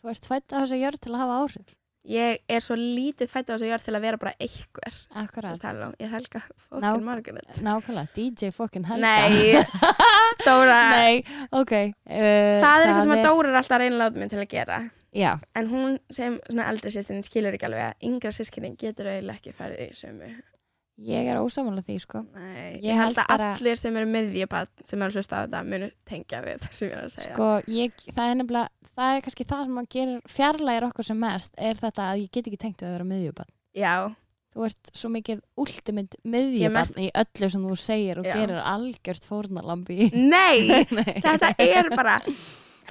Speaker 1: þú ert fætt á þessu jörg til að hafa áhrif.
Speaker 2: ég er svo lítið fætt á þessu jörð til að vera bara einhver Þú veist,
Speaker 1: Akkurat.
Speaker 2: halló, ég er Helga
Speaker 1: Ná-
Speaker 2: fokkin Margaret
Speaker 1: Nákvæmlega. DJ fokkin helga. <laughs>
Speaker 2: nei, Dóra
Speaker 1: Nei, ok. Uh,
Speaker 2: það er eitthvað sem að Dóra er alltaf að reyna að láta mig til að gera
Speaker 1: Já,
Speaker 2: en hún sem svona eldri sýstinni skilur ekki alveg að yngra sískinni getur eiginlega ekki farið í sömu
Speaker 1: ég er ósamála því, sko.
Speaker 2: Nei,
Speaker 1: Ég
Speaker 2: ég held
Speaker 1: held
Speaker 2: að
Speaker 1: bara-
Speaker 2: allir sem eru með því sem eru að hlusta á þetta munu tengja við það sem ég er að segja.
Speaker 1: Sko, ég, það er nefnilega, það er kannski það sem að gerir fjarlægir okkur sem mest, er þetta að ég get ekki tengt við að vera miðjubann.
Speaker 2: Já,
Speaker 1: Þú ert svo mikið ultimate
Speaker 2: Ég mest-
Speaker 1: miðjubann í öllu sem þú segir og
Speaker 2: Já.
Speaker 1: gerir algjört fórnalambi.
Speaker 2: nei,
Speaker 1: <laughs> Nei.
Speaker 2: þetta er bara,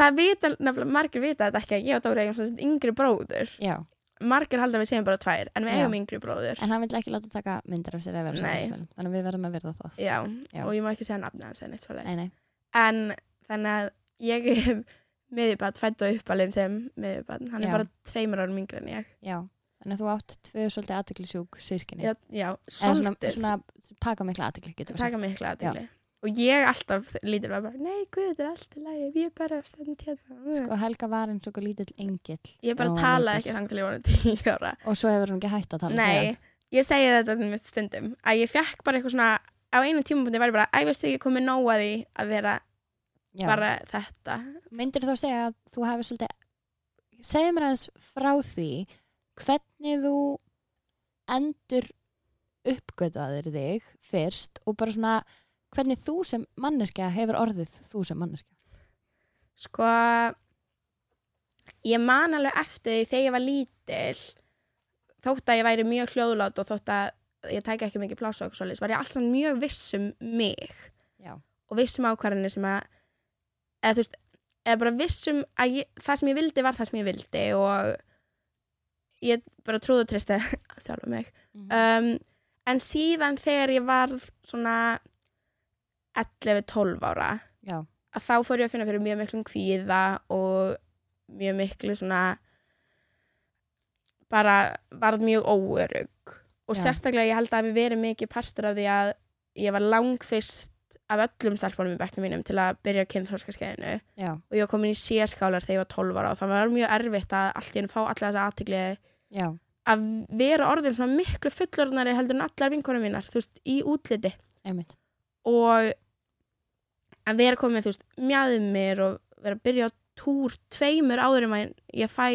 Speaker 2: það vita, nefnilega margir vita þetta ekki að ég og Dóri eigum svona sett yngri bróður.
Speaker 1: Já,
Speaker 2: Margir halda að við séum bara tvær, en við
Speaker 1: Já.
Speaker 2: eigum yngri bróður.
Speaker 1: en hann vil ekki láta taka myndir af sér að vera
Speaker 2: Nei.
Speaker 1: samfélagsmiðlum. Þannig að við verðum að verða það.
Speaker 2: Já,
Speaker 1: Já.
Speaker 2: og ég má ekki segja nafni hans en eitt svo
Speaker 1: Nei,
Speaker 2: leiðist.
Speaker 1: nei.
Speaker 2: En þannig að ég er <laughs> miðjubat, fætt og uppalinn sem miðjubat, hann
Speaker 1: Já.
Speaker 2: er bara tveimur árum yngri en ég.
Speaker 1: Já. Þannig að þú átt tvö svolítið aðtiklisjúk sískinni.
Speaker 2: Já, já
Speaker 1: Eða svona,
Speaker 2: svolítið.
Speaker 1: svona sem taka mikla aðtikli, getur við
Speaker 2: taka
Speaker 1: sagt.
Speaker 2: mikla aðdegli og ég alltaf lítur bara bara, nei guð, þetta er allt í lagi, ég er bara stend hérna
Speaker 1: Sko, Helga var eins og eitthvað lítill engill.
Speaker 2: ég
Speaker 1: þegar
Speaker 2: bara
Speaker 1: hún var
Speaker 2: talaði
Speaker 1: lítil.
Speaker 2: ekki þangt til ég var orðin 10 ára
Speaker 1: Og svo hefur hún ekki hægt að tala
Speaker 2: nei, ég segi þetta mitt stundum að ég fekk bara eitthvað svona á einu tímabundi var ég bara, æ, veistu ekki komið nóg að því að vera
Speaker 1: síðan.
Speaker 2: bara þetta
Speaker 1: Myndur þú segja að þú hefur svolítið, segðu mér aðeins frá því hvernig þú endur uppgötaðir þig fyrst og bara svona hvernig þú sem manneskja hefur orðið þú sem manneskja.
Speaker 2: Sko, ég man alveg eftir því þegar ég var lítil, þótt að ég væri mjög hljóðlát og þótt að ég tæki ekki mikið pláss og eitthvað svolítið, var ég alltaf mjög viss um mig
Speaker 1: Já.
Speaker 2: og viss um ákvarðanir sem að, eða þú veist, eða bara viss um að ég, það sem ég vildi var það sem ég vildi og ég bara trúðu og <laughs> tristi sjálfa mig
Speaker 1: Mm.
Speaker 2: um, en síðan þegar ég varð svona 11-12 ára
Speaker 1: Já.
Speaker 2: að þá fór ég að finna fyrir mjög miklum kvíða og mjög miklu svona bara varð mjög óörug og
Speaker 1: Já.
Speaker 2: sérstaklega ég held að við verið mikið partur af því að ég var langfyrst af öllum stelpunum í bekknum mínum til að byrja kynþróskaskeiðinu
Speaker 1: Já,
Speaker 2: og ég var komin í síðaskálar þegar ég var 12 ára og það var mjög erfitt að allt í henni fá alla þessa aðtegli
Speaker 1: já,
Speaker 2: að vera orðin svona miklu fullorðnari heldur en allar vinkonum mínar, þú veist, í útliti
Speaker 1: einmitt.
Speaker 2: og að vera komið, þú veist, mjæðumir og vera að byrja á túr tveimur áður um að ég fæ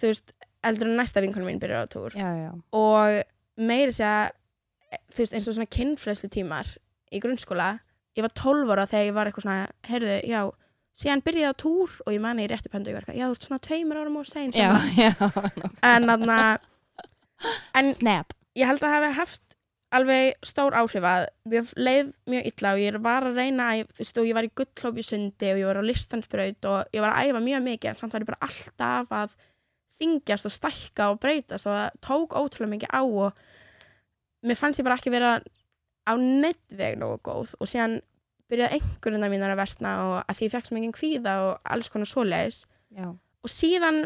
Speaker 2: þú veist, eldur en næsta vinkonum mín byrjar á túr
Speaker 1: Já, já,
Speaker 2: og meiri segja þú veist, eins og svona kynfræslu tímar í grunnskóla, ég var 12 ára þegar ég var eitthvað svona, heyrðu, já síðan byrjaði á túr og ég mani í réttu pöndu ég verka, já þú ert svona tveimur árum og segin
Speaker 1: já, já,
Speaker 2: en þarna en
Speaker 1: snap
Speaker 2: ég held að hafi haft alveg stór áhrif að mér leið mjög illa og ég var að reyna að, þú veist, og ég var í gullhóp í sundi og ég var á listansbraut og ég var að æfa mjög mikið en samt var ég bara alltaf að þingjast og stækka og breytast og það tók ótrúlega mikið á og mér fannst ég bara ekki vera á nettveg nógu góð og síðan byrjaði einhverjuna mínar að versna og að því ég fekk sem enginn kvíða og alls konar svoleiðis
Speaker 1: já,
Speaker 2: og síðan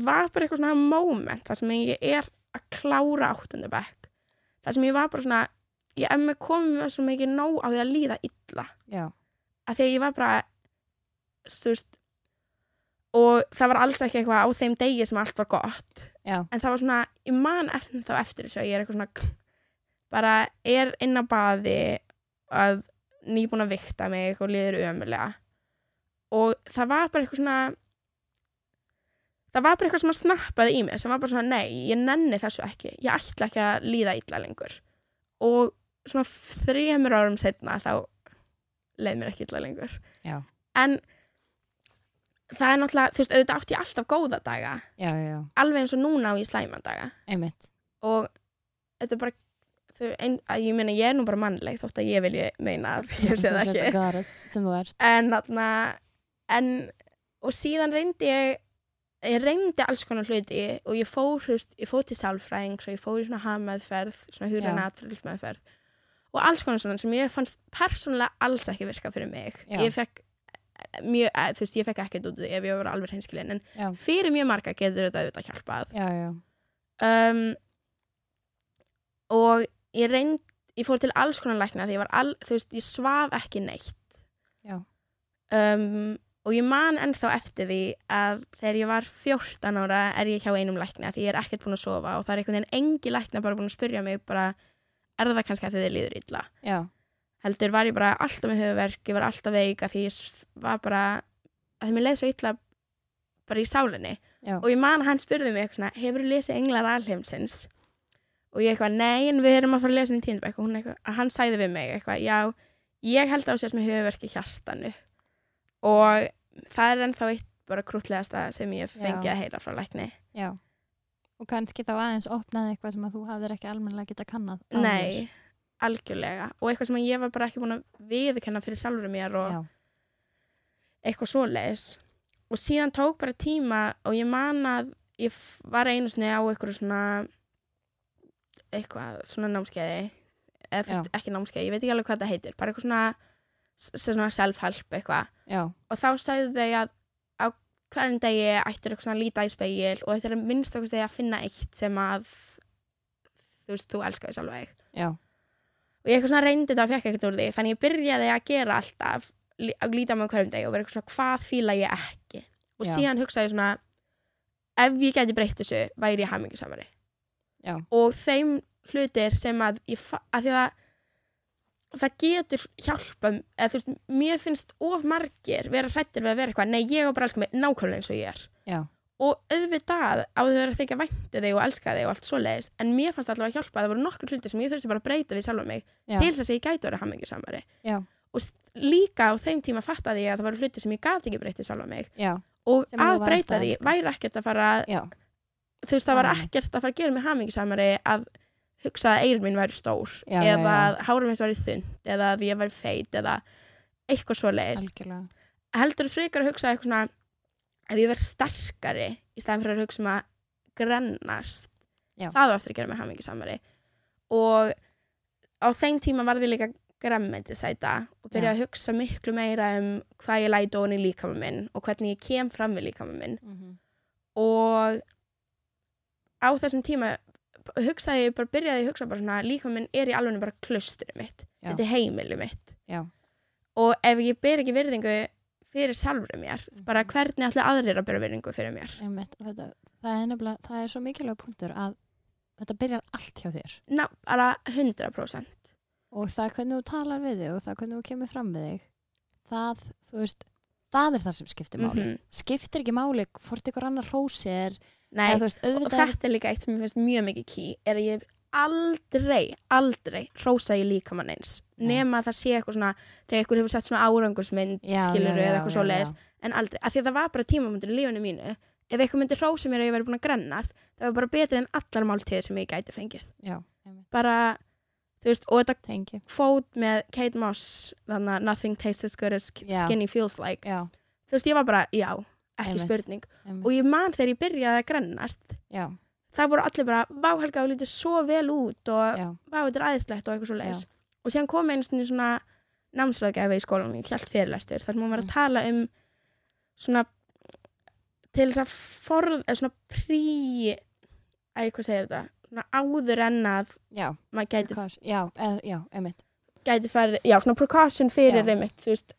Speaker 2: var bara eitthvað svona moment þar sem ég er að klára áttundu bekk þar sem ég var bara svona ég ef mér komið með svo mikið nóg á því að líða illa
Speaker 1: já,
Speaker 2: að því að ég var bara þú veist og það var alls ekki eitthvað á þeim degi sem allt var gott
Speaker 1: já,
Speaker 2: en það var svona, ég man eftir þá eftir þessu að ég er eitthvað svona kl- bara er inn á baði að nýbúin að vikta mig og liður ömulega og það var bara eitthvað svona það var bara eitthvað sem að snappaði í mig sem var bara svona, nei, ég nenni þessu ekki ég ætla ekki að líða illa lengur og svona þremur árum setna þá leið mér ekki illa lengur
Speaker 1: Já.
Speaker 2: en það er náttúrulega, þú veist, auðvitað átti ég alltaf góða daga
Speaker 1: já, já,
Speaker 2: alveg eins og núna á ég slæmandaga
Speaker 1: einmitt
Speaker 2: og þetta er bara þau, ein, að ég meina ég er nú bara mannleg þótt að ég vilji meina að ég sé
Speaker 1: Þú
Speaker 2: það
Speaker 1: sért að
Speaker 2: ekki
Speaker 1: goddess sem þú ert
Speaker 2: en þarna en, og síðan reyndi ég ég reyndi alls konar hluti og ég fór, þú veist, ég fór til sálfræðing og ég fór í svona hamaðferð, svona hugræna atfylgmaðferð og alls konar svona sem ég fannst persónulega alls ekki virka fyrir mig
Speaker 1: Já.
Speaker 2: ég fekk mjög, eh, þú veist, ég fekk ekkert út úr því ef ég var alveg hinskilin en
Speaker 1: já,
Speaker 2: fyrir mjög marga getur þetta auðvitað hjálpað
Speaker 1: já, já,
Speaker 2: um, og ég reynd ég fór til alls konar lækna því ég var all, þú veist, ég svaf ekki neitt
Speaker 1: Já.
Speaker 2: um, og ég man ennþá eftir því að þegar ég var 14 ára er ég hjá einum lækna því ég er ekkert búin að sofa og það er einhvern veginn engi lækna bara búin að spyrja mig bara er það kannski að þið líður illa
Speaker 1: já,
Speaker 2: heldur var ég bara alltaf með höfuverk ég var alltaf veik að því ég s- var bara að því mér leið svo illa bara í sálinni
Speaker 1: já,
Speaker 2: og ég man að hann spurði mig eitthvað svona, hefur þú lesið Englar alheimsins? Og ég eitthvað, nei, en við erum að fara að lesa henni í tíndabæk og hún eitthvað, að hann sæði við mig eitthvað, já, ég held á sér sem höfverki hjartanu og það er ennþá eitt bara krútlegasta sem ég fengi
Speaker 1: Já.
Speaker 2: að heyra frá lækni.
Speaker 1: já og kannski þá aðeins opnaði eitthvað sem að þú hafðir ekki almennilega geta kannað áður.
Speaker 2: Nei, algjörlega og eitthvað sem ég var bara ekki búin að viðkenna fyrir sjálfur mér og
Speaker 1: já,
Speaker 2: eitthvað svoleiðis og síðan tók bara tíma og ég man að ég f- var einu sinni á eitthvað svona eitthvað svona námskeiði eða þú veist, ekki námskeiði, ég veit ekki alveg hvað það heitir bara eitthvað svona, s- svona self-help eitthvað
Speaker 1: já,
Speaker 2: og þá sagði þau að á hverjum degi ættir eitthvað svona að líta í speil og þetta er minnst okkur stegi að finna eitt sem að þú veist, þú elskar þess alveg
Speaker 1: já,
Speaker 2: og ég eitthvað svona reyndi þetta og fekk ekkert úr því þannig ég byrjaði að gera alltaf lí- að líta með hverjum deg og vera eitthvað svona hvað fíla ég ekki og
Speaker 1: Já.
Speaker 2: síðan hugsaði ég svona ef ég gæti breytt þessu væri ég hamingisamari
Speaker 1: Já.
Speaker 2: og þeim hlutir sem að, ég, fa- að því að það getur hjálpa eða þú veist, mér finnst of margir vera hrættir við að vera eitthvað nei, ég á bara að elska mig nákvæmlega eins og ég er
Speaker 1: já,
Speaker 2: og auðvitað á þau verið að þykja væntu þig og elska þig og allt svoleiðis en mér fannst allavega hjálpa að það voru nokkur hluti sem ég þurfti bara að breyta við sjálfa mig
Speaker 1: Já.
Speaker 2: til þess að ég gæti verið hamingjusamari
Speaker 1: Já.
Speaker 2: og s- líka á þeim tíma fattaði ég að það voru hluti sem ég gati ekki breytið sjálfa mig
Speaker 1: já,
Speaker 2: og
Speaker 1: Sem þú
Speaker 2: að
Speaker 1: varst
Speaker 2: breyta
Speaker 1: að
Speaker 2: því
Speaker 1: elska.
Speaker 2: væri ekkert að fara
Speaker 1: já,
Speaker 2: þú veist það var
Speaker 1: Nei.
Speaker 2: ekkert að fara að gera mig hamingjusamari að hugsa að eigur mín væri stór
Speaker 1: Já, já,
Speaker 2: eða
Speaker 1: já.
Speaker 2: að hárum mitt væri þund eða að ég væri feit eða eitthvað svoleiðis
Speaker 1: algjörlega
Speaker 2: heldur frekar að hugsa eitthvað svona ef ég verð sterkari í staðan fyrir að hugsa um að grennast
Speaker 1: Já.
Speaker 2: það á eftir að gera mig hamingi samari og á þeim tíma varði ég líka gremmandi sæta og
Speaker 1: Já.
Speaker 2: byrja að hugsa miklu meira um hvað ég læti ofan í líkama minn og hvernig ég kem fram við líkama minn
Speaker 1: mm
Speaker 2: og á þessum tíma hugsaði ég bara, byrjaði ég að hugsa bara svona líka minn er í alveg bara klusturinn mitt
Speaker 1: Já.
Speaker 2: þetta er heimilið mitt
Speaker 1: Já.
Speaker 2: og ef ég ber ekki virðingu fyrir sjálfur mér,
Speaker 1: Mhm.
Speaker 2: bara hvernig ætla aðrir að bera virðingu fyrir mér?
Speaker 1: Einmitt, og þetta, það er nefnilega, það er svo mikilvæg punktur að þetta byrjar allt hjá þér
Speaker 2: Ná, bara 100%
Speaker 1: og það hvernig þú talar við þig og það hvernig þú kemur fram við þig það, þú veist, það er það sem skiptir máli
Speaker 2: Mhm.
Speaker 1: skiptir ekki máli hvort ykkur annar hrósi er
Speaker 2: Nei,
Speaker 1: eða þú veist,
Speaker 2: og
Speaker 1: auðvitað er-
Speaker 2: þetta er líka eitt sem ég finnst mjög mikið ký er að ég aldrei, aldrei rósa í líkamann eins
Speaker 1: Nei.
Speaker 2: nema það sé eitthvað svona, þegar einhver hefur sett svona árangursmynd skilur eða eitthvað svo leiðis en aldrei, af því að það var bara tímamundur í lífinu mínu ef eitthvað myndi rósa mér að ég væri búin að grennast það var bara betra en allar máltíðir sem ég gæti fengið
Speaker 1: Já, einmitt,
Speaker 2: bara, þú veist, og þetta
Speaker 1: tengi
Speaker 2: kvót með Kate Moss þannig að nothing tastes as good as
Speaker 1: Já.
Speaker 2: skinny feels like
Speaker 1: Já,
Speaker 2: þú veist, ég var bara, já, ekki
Speaker 1: Einmitt.
Speaker 2: spurning
Speaker 1: einmitt,
Speaker 2: og ég man þegar ég byrjaði að grennast
Speaker 1: já,
Speaker 2: það voru allir bara, vá Helga, þú lítið svo vel út og
Speaker 1: já,
Speaker 2: vá, þetta er aðeinslegt og eitthvað svo leiðis og síðan kom einu sinni svona námsraðgæfi í skólanum, ég held fyrirlæstur þar sem hún var að
Speaker 1: Mm.
Speaker 2: tala um svona til þess að forð, eða svona prí eða hvað segir þetta svona áður en að
Speaker 1: já,
Speaker 2: maður gæti
Speaker 1: because- já, eð, já, einmitt
Speaker 2: gæti farið, já, svona precaution fyrir
Speaker 1: Já.
Speaker 2: einmitt, þú veist,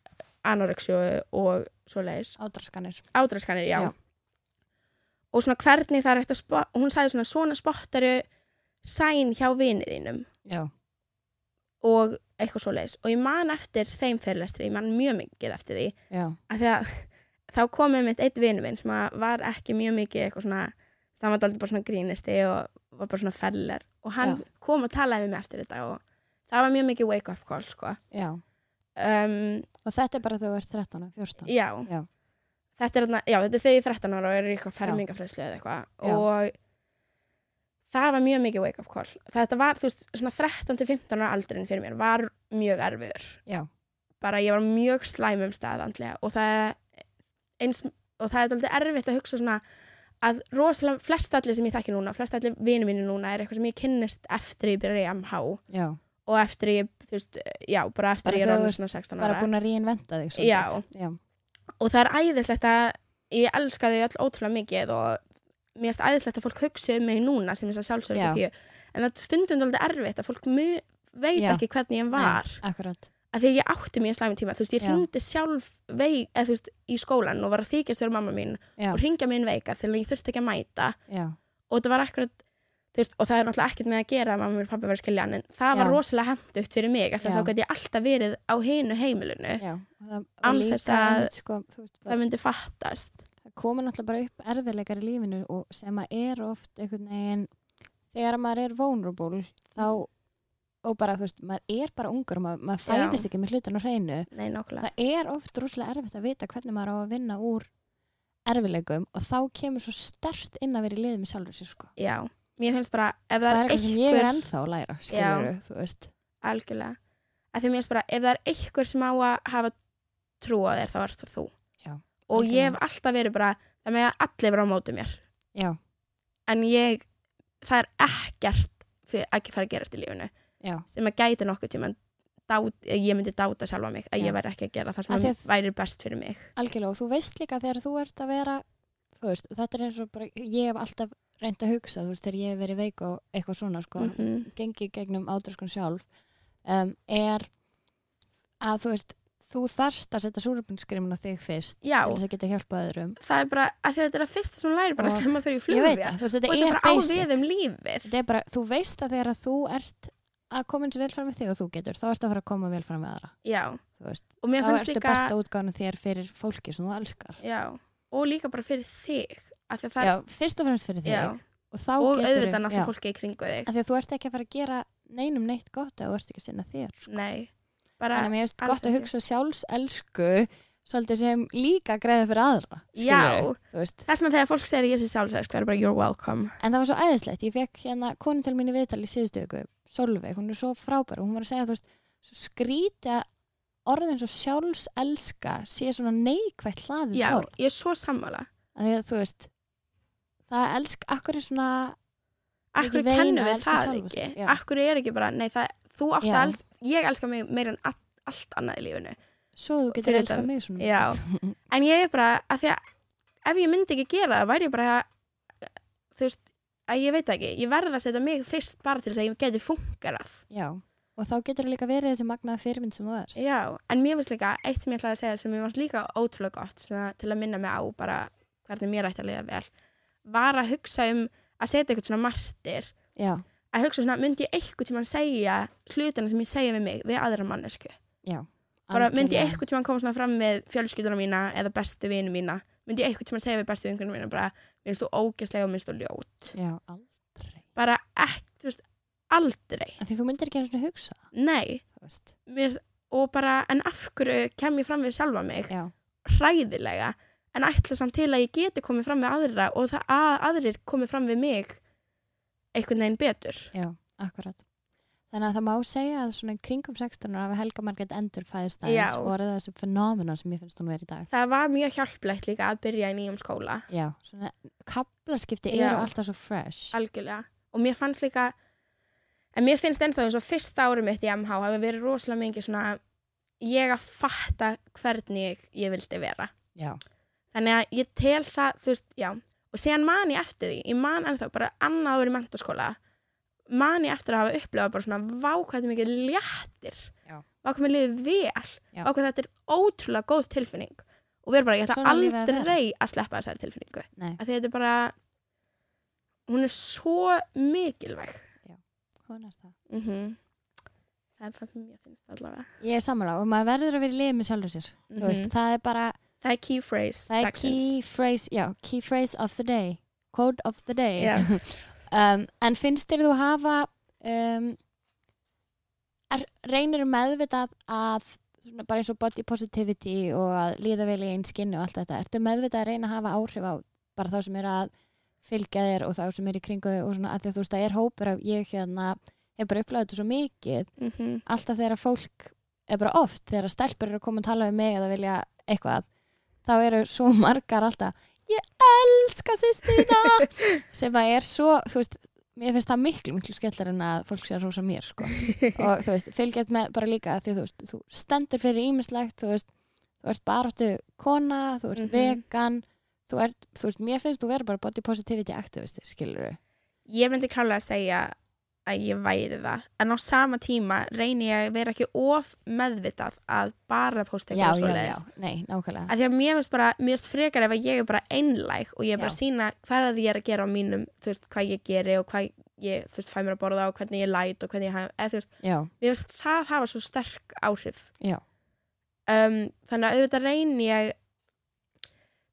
Speaker 2: anorexíu og svo leiðis,
Speaker 1: Ádraskanir,
Speaker 2: ádraskanir, já.
Speaker 1: Já.
Speaker 2: og svona hvernig það er eftir að spotta hún sagði svona, svona spottaru sæn hjá viniðinum
Speaker 1: já,
Speaker 2: og eitthvað svo leiðis og ég man eftir þeim fyrirlestri, ég man mjög mikið eftir því,
Speaker 1: já
Speaker 2: af því að <laughs> þá kom einmitt eitt vinur minn sem að var ekki mjög mikið eitthvað svona það var aldrei bara svona grínisti og var bara svona feller og hann
Speaker 1: Já.
Speaker 2: kom og talaði við mig eftir þetta og það var mjög mikið wake up call sko.
Speaker 1: Já,
Speaker 2: um,
Speaker 1: og þetta er bara þegar þú ert 13, 14
Speaker 2: já.
Speaker 1: Já.
Speaker 2: Þetta, er, þarna- já, þetta er þegar ég er 13 ára og er í eitthvað
Speaker 1: Já.
Speaker 2: fermingafræðslu eða
Speaker 1: Já.
Speaker 2: eitthvað og það var mjög mikið wake up call þetta var, þú veist, svona 13 til 15 ára aldurinn fyrir mér var mjög erfiður
Speaker 1: Já.
Speaker 2: bara ég var á mjög slæmum stað andlega og það er eins, og það er alltaf erfitt að hugsa svona að rosalega flest allir sem ég þekki núna flest allir vinur mínu núna er eitthvað sem ég kynnist eftir ég byrja í MH
Speaker 1: Já,
Speaker 2: og eftir ég, þú veist, já, bara eftir
Speaker 1: Bara
Speaker 2: ég
Speaker 1: þegar
Speaker 2: er
Speaker 1: þú
Speaker 2: orðin
Speaker 1: ert
Speaker 2: svona 16 ára
Speaker 1: bara búin að reinventa þig svolítið.
Speaker 2: Já.
Speaker 1: já,
Speaker 2: og það er æðislegt að ég elska þau öll ótrúlega mikið og mér finnst æðislegt að fólk hugsi um mig núna sem þess að sjálfsögur
Speaker 1: Já.
Speaker 2: ekki en það er stundum alveg erfitt að fólk mu- veit
Speaker 1: Já.
Speaker 2: ekki hvernig ég var
Speaker 1: akkurat
Speaker 2: að því að ég átti mjög slæmi tíma þú veist, ég
Speaker 1: Já.
Speaker 2: hringdi sjálf veik, eða, þú veist, í skólan og var að þykjast fyrir mamma mín
Speaker 1: Já,
Speaker 2: og hringja mín veika þegar ég þurfti ekki að mæta
Speaker 1: já,
Speaker 2: og það var akkurat þú veist, og það er náttúrulega ekkert með að gera að mamma mér og pappa verið skilja en það var
Speaker 1: Já.
Speaker 2: rosalega hendugt fyrir mig af því að
Speaker 1: Já.
Speaker 2: þá gæti ég alltaf verið á hinu heimilinu
Speaker 1: já og það,
Speaker 2: Án
Speaker 1: og líka
Speaker 2: þess að-
Speaker 1: einmitt, sko, þú veist, bara,
Speaker 2: það myndi fattast
Speaker 1: það koma náttúrulega bara upp erfilegar í lífinu og sem að er oft einhvern veginn þegar maður er vulnerable þá og bara, þú veist, maður er bara ungur og maður, maður
Speaker 2: Mm. Já.
Speaker 1: fæðist ekki með hlutan á hreinu
Speaker 2: Nei, nákvæmlega.
Speaker 1: það er oft rúslega erfitt að vita hvernig maður á að vinna úr erfilegum og þá kemur svo stert inn að vera í liðið með sjálfur sér sko.
Speaker 2: Já, mér finnst bara ef það,
Speaker 1: það er
Speaker 2: er
Speaker 1: eitthvað sem ég er
Speaker 2: einhver,
Speaker 1: ennþá að læra skilur þú veist
Speaker 2: algjörlega að því mér finnst bara, ef það er einhver sem á að hafa trú á þér, þá er það þú
Speaker 1: Já,
Speaker 2: og ég hef
Speaker 1: algjörlega.
Speaker 2: alltaf verið bara það með að allir vera á móti mér
Speaker 1: já,
Speaker 2: en ég, það er ekkert fyrir, ekki fara að gerast í lífinu
Speaker 1: já,
Speaker 2: sem að gæti nokkuð tíma dát, ég myndi dáta sjálfa mig að
Speaker 1: Já.
Speaker 2: ég væri ekki að gera það
Speaker 1: Af
Speaker 2: sem
Speaker 1: því
Speaker 2: að
Speaker 1: að-
Speaker 2: væri best fyrir mig
Speaker 1: algjörlega og þú veist líka þegar þú ert að vera þú veist, þetta er eins og bara ég hef alltaf reynd að hugsa, þú veist, þegar ég hef verið veik og eitthvað svona, sko,
Speaker 2: mm -hmm.
Speaker 1: gengi gegnum átröskun sjálf um, er að þú veist þú þarft að setja súröfniskrimin á þig fyrst
Speaker 2: Já,
Speaker 1: til þess að geta hjálpað öðrum
Speaker 2: það er bara, að því að þetta er að fyrsta sem hún læri bara
Speaker 1: Og-
Speaker 2: þegar maður fyrir í
Speaker 1: ég veit
Speaker 2: flugvél
Speaker 1: það, þú veist,
Speaker 2: og
Speaker 1: þetta er
Speaker 2: þetta er bara á
Speaker 1: basic
Speaker 2: við um lífið
Speaker 1: þetta er bara, þú veist að þegar að þú ert að koma eins vel fram með þig og þú getur þá ertu að fara að koma vel fram með aðra
Speaker 2: Já,
Speaker 1: þú veist,
Speaker 2: og mér
Speaker 1: þá
Speaker 2: finnst
Speaker 1: ertu
Speaker 2: líka
Speaker 1: besta útgáðan þér fyrir fólki sem þú elskar
Speaker 2: Já, og líka bara fyrir þig af því að það
Speaker 1: já, fyrst og fremst fyrir þig
Speaker 2: Já.
Speaker 1: og, þá
Speaker 2: er, og
Speaker 1: geturðu-
Speaker 2: auðvitað
Speaker 1: já.
Speaker 2: náttúrulega fólki í kringu þig
Speaker 1: af því að þú ert ekki að fara að gera neinum neitt gott ef þú ert ekki að sinna þér sko.
Speaker 2: Nei, bara
Speaker 1: þannig að mér finnst
Speaker 2: alls
Speaker 1: gott að
Speaker 2: ekki.
Speaker 1: hugsa um sjálfselsku svolítið sem líka greiði fyrir aðra skilurðu,
Speaker 2: Já.
Speaker 1: þú veist.
Speaker 2: þess vegna þegar fólk segir ég sé sjálfsæðsk það er bara you're welcome
Speaker 1: en það var svo æðislegt, ég fekk hérna konu til mín í viðtal í síðustu ykkur, Solveig, hún er svo frábær og hún var að segja, þú veist, svo skrítið að orðin svo sjálfselska sé svona neikvætt hlaðið
Speaker 2: Já,
Speaker 1: orð,
Speaker 2: ég er svo sammála
Speaker 1: að því að þú veist það elsk, akkur er svona
Speaker 2: Akkur
Speaker 1: Ekki veina
Speaker 2: kennum
Speaker 1: að
Speaker 2: við
Speaker 1: elska
Speaker 2: það
Speaker 1: sjálfa sig,
Speaker 2: ekki
Speaker 1: já.
Speaker 2: Akkur er ekki bara, nei það, þú átt
Speaker 1: Já.
Speaker 2: að els, ég elska mig meira en all, allt annað í lífinu
Speaker 1: svo þú getur
Speaker 2: Fyrir
Speaker 1: elskað
Speaker 2: utan-
Speaker 1: mig svona
Speaker 2: Já,
Speaker 1: <laughs>
Speaker 2: en ég er bara að því að ef ég myndi ekki gera það væri ég bara þú veist, að ég veit það ekki ég verð að setja mig fyrst bara til þess að ég geti fungerað
Speaker 1: Já. og þá getur líka verið þessi magnaða fyrirmynd sem þú er
Speaker 2: Já, en mér finnst líka eitt sem ég ætlaði að segja sem mér fannst líka ótrúlega gott svona, til að minna mig á bara hvernig mér ætti að liða vel var að hugsa um að setja eitthvað svona martir
Speaker 1: Já,
Speaker 2: að hugsa svona, myndi ég eitthvað tíma segja hlutina sem ég segja við mig, við aðra mannesku bara myndi ég
Speaker 1: algjörlega.
Speaker 2: eitthvað tíma koma svona fram við fjölskylduna mína eða bestu vinu mína myndi ég eitthvað tíma segja við bestu vinkunum mína bara, minnst þú ógæslega og minnst þú ljót
Speaker 1: Já, aldrei
Speaker 2: bara ekki, þú veist, aldrei
Speaker 1: Af Því þú myndir ekki einu svona hugsa það,
Speaker 2: nei,
Speaker 1: þú veist.
Speaker 2: mér, og bara en af hverju kem ég fram við sjálfa mig
Speaker 1: Já,
Speaker 2: hræðilega en ætla samt til að ég geti komið fram við aðra og það að aðrir komið fram við mig einhvern veginn betur
Speaker 1: já, akkurat. Þannig að það má segja að svona í kringum 16 ára hafi Helga Margrét endur fæðist aðeins
Speaker 2: Já.
Speaker 1: og orðið þessu fenómena sem ég finnst hún verið í dag.
Speaker 2: það var mjög hjálplegt líka að byrja í nýjum skóla
Speaker 1: Já, svona kaplaskipti
Speaker 2: Já.
Speaker 1: eru alltaf svo fresh.
Speaker 2: algjörlega og mér fannst líka en mér finnst ennþá eins og fyrsta ári mitt í MH hafi verið rosalega mikið svona ég að fatta hvernig ég vildi vera
Speaker 1: Já,
Speaker 2: þannig að ég tel það, þú veist, já og síðan man ég eftir því, ég man ennþá bara annað að vera í mentaskóla man ég eftir að hafa upplifað bara svona vákvæði mikið léttir
Speaker 1: Já.
Speaker 2: vákvæði mér liðið vel
Speaker 1: Já.
Speaker 2: vákvæði þetta er ótrúlega góð tilfinning og við erum bara, ég ætla
Speaker 1: Svona á lífið að vera.
Speaker 2: aldrei að sleppa þessari tilfinningu
Speaker 1: nei,
Speaker 2: að því þetta er bara hún er svo mikilvæg
Speaker 1: hún er það.
Speaker 2: mm það er það sem ég finnst allavega
Speaker 1: Ég er sammála og maður verður að vera í liði með sjálfur sér. Þú veist,
Speaker 2: Mhm.
Speaker 1: það er bara,
Speaker 2: það er key phrase
Speaker 1: það er
Speaker 2: dagsins.
Speaker 1: key phrase, já, key phrase of the day. Quote of the day.
Speaker 2: Já.
Speaker 1: um, en finnst þér þú hafa um, er, reynir meðvitað að svona, bara eins og body positivity og að líða vel í einn skinni og allt þetta ertu meðvitað að reyna að hafa áhrif á bara þá sem er að fylgja þér og þá sem er í kringu þig og svona að því að þú veist það er hópur af ég hérna hef bara upplæðið þetta svo mikið
Speaker 2: Mhm.
Speaker 1: alltaf þegar fólk er bara oft þegar stelpur eru að koma og tala við mig eða vilja eitthvað þá eru svo margar alltaf ég elska sýstina
Speaker 2: <laughs>
Speaker 1: sem að er svo þú veist, mér finnst það miklu miklu skellar en að fólk sé að rosa mér
Speaker 2: <laughs>
Speaker 1: sko. og þú veist, fylgjast með bara líka því þú veist, þú stendur fyrir ímislegt þú veist, þú ert baráttu kona þú ert
Speaker 2: Mhm.
Speaker 1: vegan þú ert, þú veist, mér finnst þú verður bara body positivity activisti, skilur við
Speaker 2: ég myndi klálega að segja að ég væri það en á sama tíma reyni ég að vera ekki of meðvitað að bara posta
Speaker 1: já, já,
Speaker 2: eitthvað
Speaker 1: já,
Speaker 2: svoleiðis.
Speaker 1: nei, nákvæmlega
Speaker 2: að því að mér finnst bara, mér finnst frekar ef að ég er bara einlæg og ég er bara
Speaker 1: Já.
Speaker 2: að sína hvað er það ég er að gera á mínum, þú veist, hvað ég geri og hvað ég, þú veist, fæ mér að borða og hvernig ég læt og hvernig ég hef, eða þú veist,
Speaker 1: já,
Speaker 2: mér finnst það hafa svo sterk áhrif
Speaker 1: Já.
Speaker 2: um, þannig að auðvitað reyni ég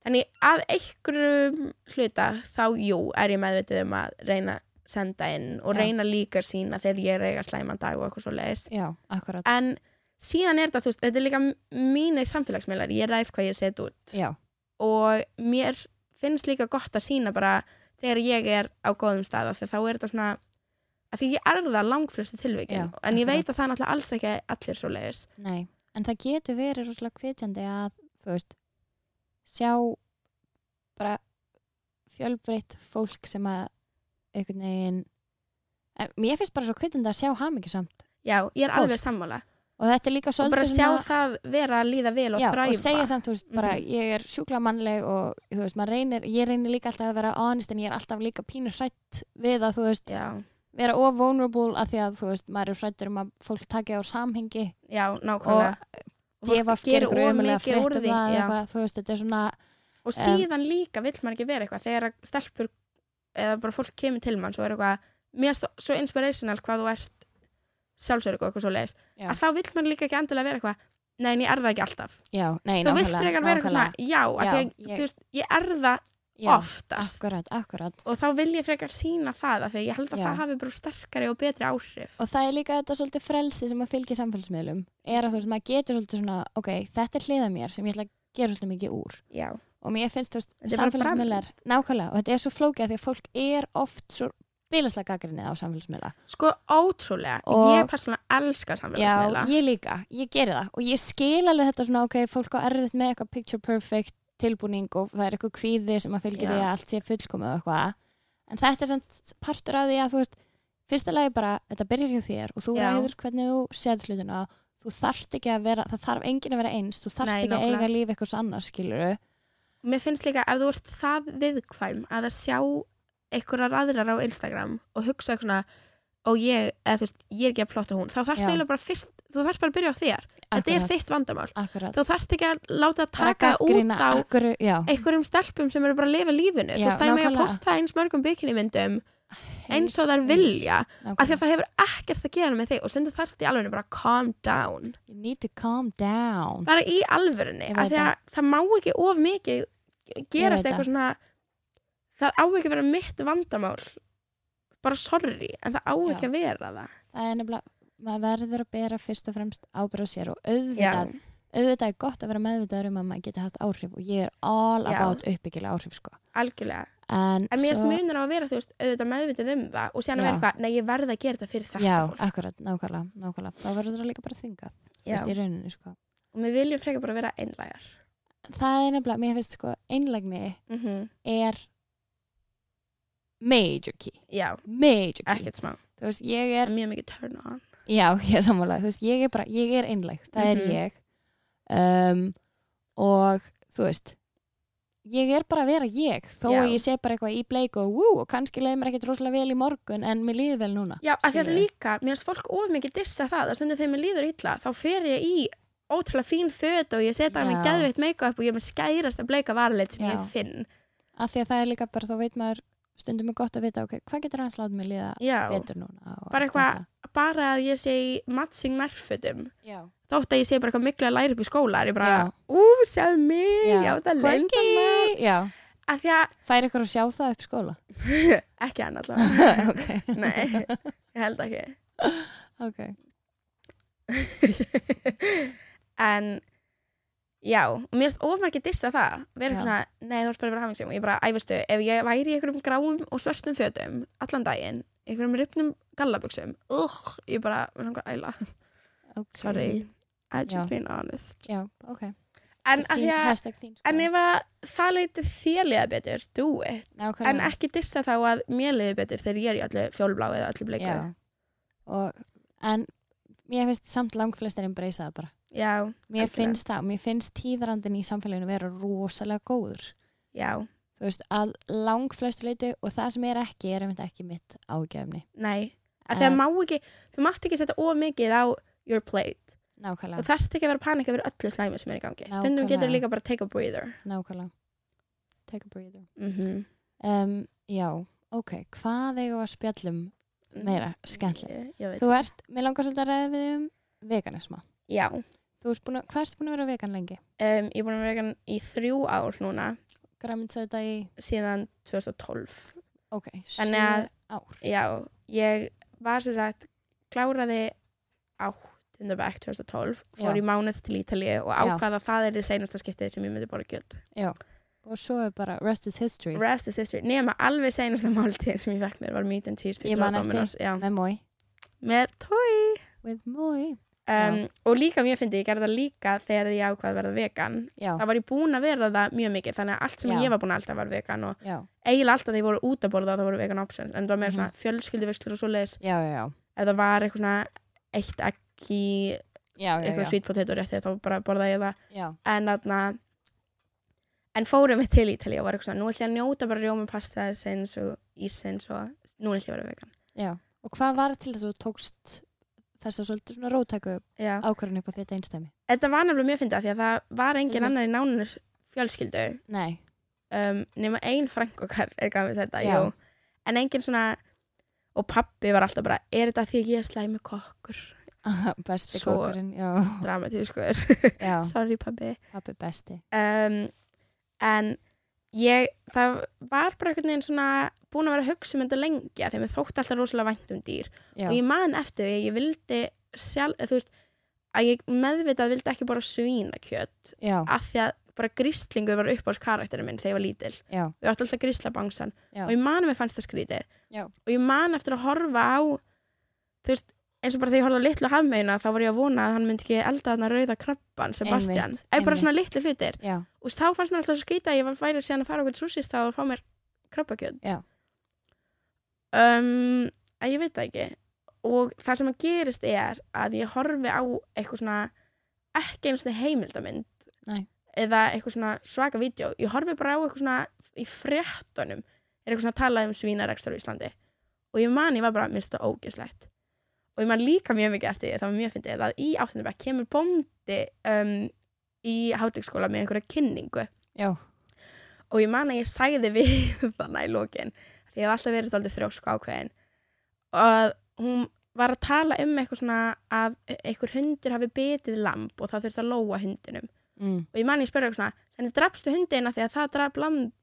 Speaker 2: þannig að einhverjum hluta þá jú er ég meðvitið um að reyna að senda inn og
Speaker 1: Já.
Speaker 2: reyna líka sína þegar ég er að eiga slæman dag og eitthvað svo leiðis
Speaker 1: já, akkurat
Speaker 2: en síðan er þetta, þú veist, þetta er líka mínir samfélagsmiðlar, ég ræf hvað ég set út
Speaker 1: já,
Speaker 2: og mér finnst líka gott að sína bara þegar ég er á góðum staða þegar þá er þetta svona að því ég er það langflestu tilvikin
Speaker 1: Já,
Speaker 2: en ég
Speaker 1: akkurat.
Speaker 2: veit að það er náttúrulega alls ekki allir svo leiðis
Speaker 1: Nei, en það getur verið rosalega hvetjandi að, þú veist, sjá bara fjölbreytt fólk sem að einhvern veginn en mér finnst bara svo hvetjandi að sjá hamingi samt
Speaker 2: já, ég er
Speaker 1: Fólk.
Speaker 2: alveg sammála
Speaker 1: og þetta er líka
Speaker 2: og bara
Speaker 1: svolítið
Speaker 2: sjá það vera að líða vel og
Speaker 1: já,
Speaker 2: þræfa
Speaker 1: og segja samt, þú veist, bara
Speaker 2: Mhm.
Speaker 1: ég er sjúklega mannleg og þú veist, maður reynir, ég reynir líka alltaf að vera honest en ég er alltaf líka pínur hrætt við að, þú veist,
Speaker 2: já,
Speaker 1: vera of vulnerable að því að, þú veist, maður er hrættur um að fólk taki á samhengi
Speaker 2: já, nákvæmlega Og fólk
Speaker 1: DFF
Speaker 2: gerir
Speaker 1: gerir
Speaker 2: of
Speaker 1: grömmulega
Speaker 2: mikið úr
Speaker 1: frétt um
Speaker 2: því,
Speaker 1: það eða
Speaker 2: já.
Speaker 1: eitthvað, þú veist, þetta er svona
Speaker 2: og síðan líka vill maður ekki vera eitthvað þegar að stelpur eða bara fólk kemur til mann svo er eitthvað mér er svo inspirational hvað þú ert sjálfsörg og eitthvað svo leiðis
Speaker 1: Já.
Speaker 2: að þá vill maður líka ekki endilega vera eitthvað nei, en ég er það ekki alltaf
Speaker 1: Já, nei,
Speaker 2: þú vilt frekar vera eitthvað
Speaker 1: nákvæmlega.
Speaker 2: svona já, af
Speaker 1: Já,
Speaker 2: því að
Speaker 1: ég-
Speaker 2: þú veist, ég er það
Speaker 1: Já,
Speaker 2: oftast
Speaker 1: akkurat, akkurat.
Speaker 2: og þá vil ég frekar sína það af því að ég held að
Speaker 1: Já.
Speaker 2: það hafi bara sterkari og betri áhrif
Speaker 1: Og það er líka þetta svolítið frelsi sem að fylgja samfélagsmiðlum er að þú veist, maður getur svolítið svona ok, þetta er hliða mér sem ég ætla að gera svolítið mikið úr
Speaker 2: já,
Speaker 1: og mér finnst þú veist,
Speaker 2: Þetta er bara
Speaker 1: samfélagsmiðlar nákvæmlega, og þetta er svo flókið af því að fólk er oft svo bilaslega gaggrinnið á samfélagsmiðla
Speaker 2: sko ótrúlega
Speaker 1: Og-
Speaker 2: ég persónulega elska
Speaker 1: Já,
Speaker 2: samfélagsmiðla
Speaker 1: ég líka, ég geri það og ég skil alveg þetta svona, ok, fólk á erfitt með eitthvað picture perfect tilbúning og það er eitthvað kvíði sem að fylgja
Speaker 2: Já.
Speaker 1: því að allt sé fullkomið og eitthvað en þetta er samt partur af því að þú veist, fyrsta lagi bara, þetta byrjar hjá þér og þú
Speaker 2: Já.
Speaker 1: ræður hvernig þú sér hlutina þú þarft ekki að vera, það þarf enginn að vera eins þú þarft
Speaker 2: Nei,
Speaker 1: ekki að
Speaker 2: nákvæmlega.
Speaker 1: eiga líf eitthvað annars, skilur
Speaker 2: mér finnst líka ef þú ert það viðkvæm að að sjá einhverjar aðrar á Instagram og hugsa eitthvað svona og ég, eða þú veist, ég er ekki að plotta hún þá þarfst
Speaker 1: Já.
Speaker 2: eiginlega bara fyrst, þú þarfst bara að byrja á þér þetta er þitt vandamál,
Speaker 1: akkurat,
Speaker 2: þú þarfst ekki að láta taka það út á
Speaker 1: akkur, já,
Speaker 2: einhverjum stelpum sem eru bara að lifa lífinu
Speaker 1: Já,
Speaker 2: þú veist það er með að
Speaker 1: nákvæmlega.
Speaker 2: posta eins mörgum bikinimyndum eins og þær vilja af því að það hefur ekkert að gera með þig og stundu þarft í alvörinu bara calm down
Speaker 1: you need to calm down
Speaker 2: bara í alvörinu
Speaker 1: Ég
Speaker 2: af
Speaker 1: veit
Speaker 2: því að það má ekki of mikið
Speaker 1: Ég veit
Speaker 2: gerast eitthvað svona það á ekki að vera mitt vandamál bara sorry, en það á ekki
Speaker 1: Já.
Speaker 2: að vera það
Speaker 1: það er nefnilega, maður verður að bera fyrst og fremst ábyrgð á sér og auðvitað auðvitað er gott að vera meðvitaður um að maður geti haft áhrif og ég er all
Speaker 2: Já.
Speaker 1: about uppbyggilega áhrif sko
Speaker 2: algjörlega,
Speaker 1: en,
Speaker 2: en mér
Speaker 1: svo,
Speaker 2: finnst munur á að vera þú veist, auðvitað meðvitið um það og síðan
Speaker 1: Já.
Speaker 2: að vera eitthvað, nei ég verð að gera þetta fyrir þetta
Speaker 1: já,
Speaker 2: fólk."
Speaker 1: akkurat, nákvæmlega, nákvæmlega þá verður það líka bara þingað þú veist, í rauninni sko
Speaker 2: og við viljum frekar bara vera einlægar
Speaker 1: það er nefnilega, mér finnst sko einlægni
Speaker 2: mm
Speaker 1: Mhm. er major key
Speaker 2: já,
Speaker 1: major key,
Speaker 2: ekkert smá,
Speaker 1: þú veist, ég er
Speaker 2: mjög mikið turn on
Speaker 1: Já, <laughs> ég er sammála, þú veist, ég er bara, ég er einlæg, það
Speaker 2: Mhm.
Speaker 1: er ég um, og þú veist, ég er bara að vera ég, þó
Speaker 2: Já.
Speaker 1: að ég sé bara eitthvað í bleik og wú, og kannski leiði mér ekkert rosalega vel í morgun en mér líði vel núna.
Speaker 2: já, af því að
Speaker 1: Skilurðu?
Speaker 2: líka, mér finnst fólk of mikið dissa það, að stundum þegar mér líður illa þá fer ég í ótrúlega fín föt og ég setja á mig
Speaker 1: Já.
Speaker 2: geðveitt make-up og ég er með skærasta bleika varleitt sem
Speaker 1: Já.
Speaker 2: ég finn
Speaker 1: Af því að það er líka bara, þá veit maður stundum er gott að vita, ok, hvað getur hans látið mér líða
Speaker 2: já,
Speaker 1: betur núna? og
Speaker 2: Bara
Speaker 1: allt
Speaker 2: eitthvað-
Speaker 1: þetta.
Speaker 2: bara að ég sé í matching nærfötum
Speaker 1: Já.
Speaker 2: þótt að ég sé bara eitthvað miklu að læra upp í skóla er ég bara,
Speaker 1: Já.
Speaker 2: ú, sjáðu mig,
Speaker 1: Já.
Speaker 2: já, það lenda maður
Speaker 1: Quirky! Já,
Speaker 2: af því að,
Speaker 1: fær ykkur að sjá það upp
Speaker 2: <laughs>
Speaker 1: skóla?
Speaker 2: ekki hann allavega <laughs>
Speaker 1: ok,
Speaker 2: nei, ég held ekki
Speaker 1: ok.
Speaker 2: <laughs> en, já og mér finnst ofmarkið dissa það
Speaker 1: Já.
Speaker 2: vera eitthvað svona, nei þú ert bara að vera hafingsum og ég bara, æfistu, ef ég væri í einhverjum gráum og svörstum fötum allan daginn einhverjum ripnum gallabuxum ugh, ég bara, mér langar að æla
Speaker 1: okay.
Speaker 2: sorry, I
Speaker 1: Já.
Speaker 2: just been honest
Speaker 1: Já, ok.
Speaker 2: en
Speaker 1: Þín-
Speaker 2: af því að
Speaker 1: Hashtag þín,
Speaker 2: En ef að það leiti þér liða betur, do it.
Speaker 1: Nákvæmlega.
Speaker 2: En ekki dissa þá að mér liði betur þegar ég er í öllu fjólblá eða öllu bleiku.
Speaker 1: Já. Og, en mér finnst samt langflestir embracea það bara.
Speaker 2: já,
Speaker 1: Mér
Speaker 2: Algjörlega.
Speaker 1: finnst það, mér finnst tíðrandin í samfélaginu vera rosalega góður.
Speaker 2: já.
Speaker 1: Þú veist, að langflestu leitu og það sem er ekki er einmitt ekki mitt ágefni.
Speaker 2: nei. Að það
Speaker 1: En-
Speaker 2: má ekki, þú mátt ekki setja of mikið á your plate.
Speaker 1: Nákvæmlega,
Speaker 2: Og þarft ekki að vera panika fyrir öllu slæmi sem er í gangi. Stundum
Speaker 1: Nákvæmlega.
Speaker 2: getur líka bara take a breather.
Speaker 1: nákvæmlega. Take a breather.
Speaker 2: Mm -hmm.
Speaker 1: Um, já, ok, hvað eigum við að spjallum meira skemmtilegt?
Speaker 2: Mm. Ég, ég veit.
Speaker 1: Þú ert, mér langar svolítið að ræða við um veganisma.
Speaker 2: Já,
Speaker 1: Þú ert búin að, hvað ert búin að vera vegan lengi?
Speaker 2: um, ég er búin að vera vegan í þrjú ár núna
Speaker 1: Græminsæta í,
Speaker 2: síðan 2012.
Speaker 1: ok, sjö
Speaker 2: Þannig að-
Speaker 1: ár.
Speaker 2: Já, ég var sem sagt, kláraði áttundabæk 2012, fór
Speaker 1: Já.
Speaker 2: í mánuð til Ítalíu og
Speaker 1: Já.
Speaker 2: ákvað að það er þið seinasta skiptið sem ég myndi bara gjöld.
Speaker 1: Og svo er bara rest is history.
Speaker 2: Rest is history, nema alveg seinasta máltíð sem ég fekk mér var meat and cheese
Speaker 1: Ég
Speaker 2: pizza
Speaker 1: man
Speaker 2: á
Speaker 1: eftir.
Speaker 2: Domino's. Já,
Speaker 1: Með mói.
Speaker 2: með tói.
Speaker 1: With mói.
Speaker 2: Um, og líka mjög fyndi, ég gerði það líka þegar ég ákvað að verða vegan.
Speaker 1: Já,
Speaker 2: Það var ég búin að vera það mjög mikið, þannig að allt sem
Speaker 1: Já.
Speaker 2: ég var búin að alltaf var vegan og
Speaker 1: já,
Speaker 2: eiginlega alltaf þegar ég voru út að borða þá voru vegan options, en það var meira
Speaker 1: Mhm.
Speaker 2: svona fjölskylduveslur og
Speaker 1: já,
Speaker 2: svo
Speaker 1: já, já.
Speaker 2: ef það var eitthvað svona eitt egg í
Speaker 1: Já, já,
Speaker 2: eitthvað
Speaker 1: já.
Speaker 2: sweet potato rétti þá bara borðaði ég það
Speaker 1: já,
Speaker 2: en þarna en fórum við til Ítalíu og var eitthvað svona nú ætlum ég að njóta bara rjómapasta sinns og ísins og nú ætlum ég að vera vegan
Speaker 1: já. Og hvað var til þess að þú tókst þess að svolítið svona rótæku
Speaker 2: Já.
Speaker 1: ákvörðin upp á þetta einstæmi?
Speaker 2: þetta var nefnilega mjög fyndið af því að það var engin
Speaker 1: Til þess-
Speaker 2: annar í nánunir fjölskyldu
Speaker 1: Nei,
Speaker 2: um, nema ein frank okkar er gafið þetta
Speaker 1: Já.
Speaker 2: jú. en engin svona og pappi var alltaf bara er þetta því að ég er slæmi kokkur
Speaker 1: besti
Speaker 2: Svo-
Speaker 1: kokkurinn, já,
Speaker 2: dramatískur, <laughs>
Speaker 1: já,
Speaker 2: sko. sorry pabbi
Speaker 1: pappi besti.
Speaker 2: um, en ég, það var bara einhvern veginn svona búin að vera að hugsa um þetta lengi af því að mér þótti alltaf rosalega vænt um dýr
Speaker 1: Já,
Speaker 2: og ég man eftir því að ég vildi sjálf, eða þú veist að ég meðvitað vildi ekki bara svína kjött
Speaker 1: já,
Speaker 2: af því að bara gríslingur var upp á karakterinu minn þegar ég var lítil
Speaker 1: já,
Speaker 2: og ég átti alltaf gríslabangsan
Speaker 1: Já.
Speaker 2: og ég man að mér fannst það skrítið
Speaker 1: Já.
Speaker 2: og ég man eftir að horfa á þú veist, eins og bara þegar ég horfði á litlu hafmeina þá var ég að vona að hann myndi ekki elda þarna rauða krabban Sebastian,
Speaker 1: Einmitt,
Speaker 2: eða bara svona
Speaker 1: einmitt.
Speaker 2: litlu hlutir
Speaker 1: já,
Speaker 2: og þá fannst mér alltaf svo skrítið að ég var væri síðan að fara okkur til súsist þá að fá mér krabbakjöld
Speaker 1: Já.
Speaker 2: um, að ég veit það ekki og það sem að gerist er að ég horfi á eitthvað svona ekki einu svona heimildamynd
Speaker 1: Nei.
Speaker 2: eða eitthvað svona svaka vídeo ég horfi bara á eitthvað svona í fréttunum er eitthvað svona að tala um svínarekstur í Íslandi og ég man ég var bara minnst og ógislegt og ég man líka mjög mikið eftir því það var mjög fyndið að í áttundabæk kemur bóndi um, í hátekskóla með einhverja kynningu
Speaker 1: já,
Speaker 2: og ég man að ég sagði við <laughs> þannig í lókin því ég hef alltaf verið þáldið þrjósk ákveðin og að hún var að tala um eitthvað svona að einhver hundur hafi bitið lamb og það þurfti að lóa hundinum
Speaker 1: mm,
Speaker 2: og ég man að ég spurði eitthvað svona þannig drafstu hundin að því að það draf lamb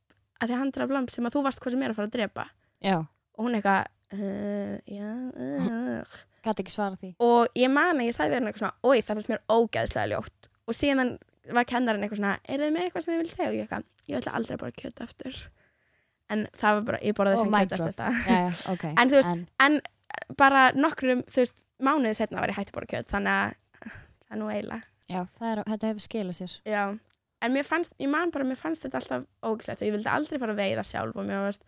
Speaker 2: að því að hann draf lamb sem að þú varst hvað sem er að fara að drepa
Speaker 1: já,
Speaker 2: og hún eitthvað uh, já, uh.
Speaker 1: Gat ekki svara því.
Speaker 2: og ég man að ég sagði verið eitthvað svona oi það fannst mér ógæðslega ljótt og síðan var kendarinn eitthvað svona er þið með eitthvað sem þið viljið segja og ég eitthvað ég ætla aldrei að borða kjöt aftur en það var bara, ég borðaði
Speaker 1: Oh,
Speaker 2: sem
Speaker 1: mic
Speaker 2: kjöt
Speaker 1: drop.
Speaker 2: eftir þetta
Speaker 1: Já, já, ok.
Speaker 2: <laughs> En þú veist-
Speaker 1: en,
Speaker 2: bara nokkrum, þú veist, mánuði setna var ég hætti að borða kjöt þannig að það er nú eiginlega
Speaker 1: já, það er, þetta hefur skilað sér.
Speaker 2: já. en mér fannst, ég man bara, mér fannst þetta alltaf ógæðslegt og ég vildi aldrei fara að veiða sjálf og mér varst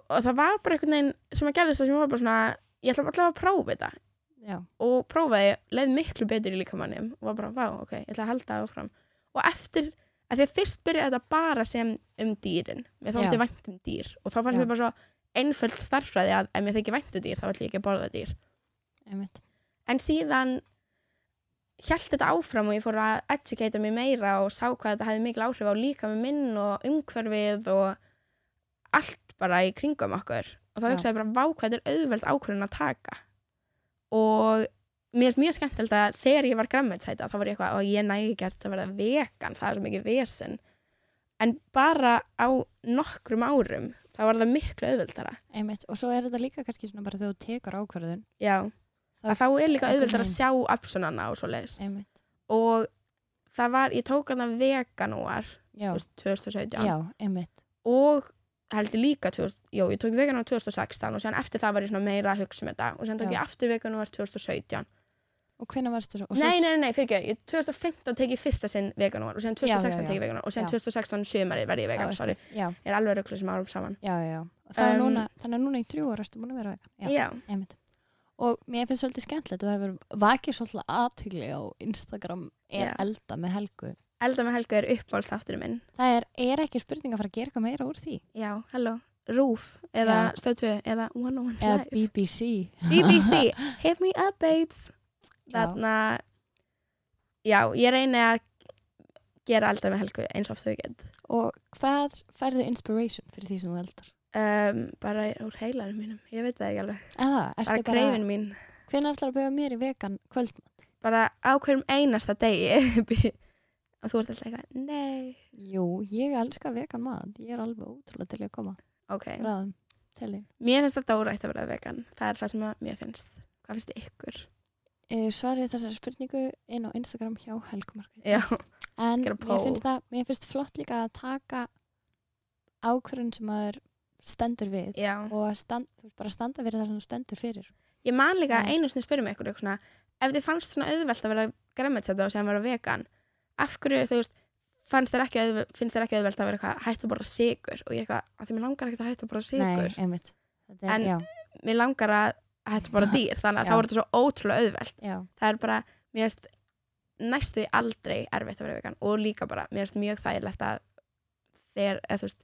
Speaker 2: og það var bara einhvern veginn sem að gerðist það sem ég var bara svona ég ætla alltaf að prófa þetta
Speaker 1: Já,
Speaker 2: og prófaði, leið miklu betur í líkamannum og var bara, vá, ok, ég ætla að halda áfram og eftir, að því að fyrst byrjaði þetta bara sem um dýrin mér
Speaker 1: Já.
Speaker 2: þótti vænt um dýr og þá fannst
Speaker 1: Já.
Speaker 2: mér bara svo einföld starffræði að ef mér þykir vænt um dýr þá ætla ég ekki að borða dýr
Speaker 1: einmitt.
Speaker 2: en síðan held þetta áfram og ég fór að educata mig meira og sá hvað þetta hefði mikil áhrif á líka með minn og umhverfið og allt bara í kringum okkur og þá
Speaker 1: Já.
Speaker 2: hugsaði ég bara vá hvað þetta er auðveld ákvörðun að taka og mér finnst mjög skemmtilegt að þegar ég var grammetsæta þá var ég eitthvað og ég nægi gert að verða vegan það er svo mikið vesen en bara á nokkrum árum þá var það miklu auðveldara
Speaker 1: Einmitt. Og svo er þetta líka kannski svona bara þegar þú tekur ákvörðun.
Speaker 2: já,
Speaker 1: Það-
Speaker 2: að þá er líka
Speaker 1: einhvern
Speaker 2: auðveldara
Speaker 1: veginn.
Speaker 2: að sjá absonana og svo leiðis
Speaker 1: Einmitt.
Speaker 2: og það var, ég tók hana veganúar
Speaker 1: Já,
Speaker 2: þú veist, 2017
Speaker 1: já, einmitt.
Speaker 2: og heldur líka 2000, jó, ég tók veganúar 2016 og sen eftir það var ég svona meira að hugsa um þetta og sen tók
Speaker 1: Já.
Speaker 2: ég aftur veganúar 2017
Speaker 1: Og hvenær varstu svo? Og svo
Speaker 2: nei, nei, nei, fyrir ekki, 2015 tek ég fyrsta sinn veganúar og sen
Speaker 1: Já, já,
Speaker 2: 2016
Speaker 1: já.
Speaker 2: tek ég veganúar og sen
Speaker 1: Já.
Speaker 2: 2016 sömari var ég
Speaker 1: Já,
Speaker 2: vegan,
Speaker 1: veistu.
Speaker 2: sorry
Speaker 1: Já,
Speaker 2: ég er alveg rögglu sem árum saman
Speaker 1: já, já. já. Og það er
Speaker 2: Um,
Speaker 1: núna, þannig að núna í þrjú ára erstu búin að vera vegan. Já,
Speaker 2: já,
Speaker 1: einmitt. Og mér finnst svolítið skemmtilegt að það hefur vakið svolítið aðtýrli á Instagram er
Speaker 2: Já.
Speaker 1: elda með helgu.
Speaker 2: elda með helga er uppbólstátturinn minn
Speaker 1: Það er, er ekki spurning að fara að gera eitthvað meira úr því.
Speaker 2: já, hello, Rúf
Speaker 1: Já.
Speaker 2: eða Stöð 2 eða 101
Speaker 1: Eða
Speaker 2: Live
Speaker 1: BBC.
Speaker 2: BBC, hit me up babes
Speaker 1: Já.
Speaker 2: þarna já, ég reyni að gera alltaf með helgu eins og oft og ég get
Speaker 1: Og hvað færðu inspiration fyrir því sem þú eldar?
Speaker 2: um, bara úr heilarum mínum, ég veit það ekki alveg
Speaker 1: Er það? Ertu bara,
Speaker 2: bara greifin mín,
Speaker 1: hvenær ætlar að bjóða mér í vegan kvöldmatt?
Speaker 2: bara á hverjum einasta degi Bí- og þú ert alltaf eitthvað, nei
Speaker 1: Jú, ég elska vegan mat. Ég er alveg útrúlega til í að koma.
Speaker 2: ok,
Speaker 1: Ráðum, til þín.
Speaker 2: mér finnst þetta órætt að vera vegan það er það sem að mér finnst, hvað finnst ykkur
Speaker 1: Eh, Svarið þessari spurningu inn á Instagram hjá Helgumarkið.
Speaker 2: já,
Speaker 1: En
Speaker 2: Gera
Speaker 1: mér
Speaker 2: poll.
Speaker 1: finnst, það, mér finnst flott líka að taka ákvörðun sem maður stendur við
Speaker 2: já
Speaker 1: og að stand, þú veist, bara standa fyrir það sem þú stendur fyrir.
Speaker 2: ég man líka
Speaker 1: Já.
Speaker 2: að einu sinni spyrjum ykkur eitthvað svona, ef þið fannst svona auðvelt að vera græmetsetta og sem vera vegan af hverju þú veist fannst þér ekki, auðv- finnst þér ekki auðvelt að vera eitthvað hætt að borða sigur og ég eitthvað, að því mér langar ekkert að hætt að borða sigur,
Speaker 1: Nei, einmitt. Þetta er,
Speaker 2: En-
Speaker 1: já,
Speaker 2: mér langar að
Speaker 1: <laughs>
Speaker 2: hætt að borða dýr, þannig að
Speaker 1: Já.
Speaker 2: það voru þetta svo ótrúlega auðvelt
Speaker 1: já,
Speaker 2: það er bara, mér finnst næstu því aldrei erfitt að vera vegan og líka bara, mér finnst mjög þægilegt að þegar, eða þú veist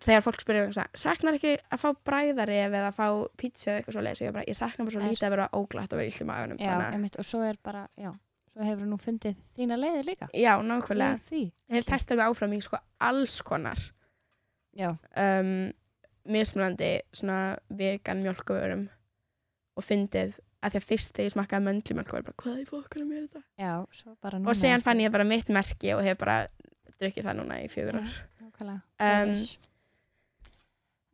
Speaker 2: þegar fólk spyrir um það, saknar ekki að fá bræðari eða að fá pítsu eða eitthvað svo leiðis, ég, bara, ég saknar bara svo
Speaker 1: Er.
Speaker 2: lítið að vera óglætt að vera illt í maðunum,
Speaker 1: já,
Speaker 2: þannig að
Speaker 1: einmitt. Og svo er bara, já, svo hefur nú fundið þína leiðir líka.
Speaker 2: já, nákvæmlega,
Speaker 1: Í Því.
Speaker 2: ég hef testað mig áfram í sko alls konar
Speaker 1: Já,
Speaker 2: um, mismunandi svona vegan mjölkuvörum og fyndið að því að fyrst þegar ég smakkaði möndlumjölk var ég bara, hvað í fokkunum er þetta?
Speaker 1: já, svo bara núna.
Speaker 2: og síðan fann ég bara mitt merki og hef bara drukkið það núna í fjögur
Speaker 1: Já,
Speaker 2: ár
Speaker 1: Nákvæmlega.
Speaker 2: um,
Speaker 1: Yes.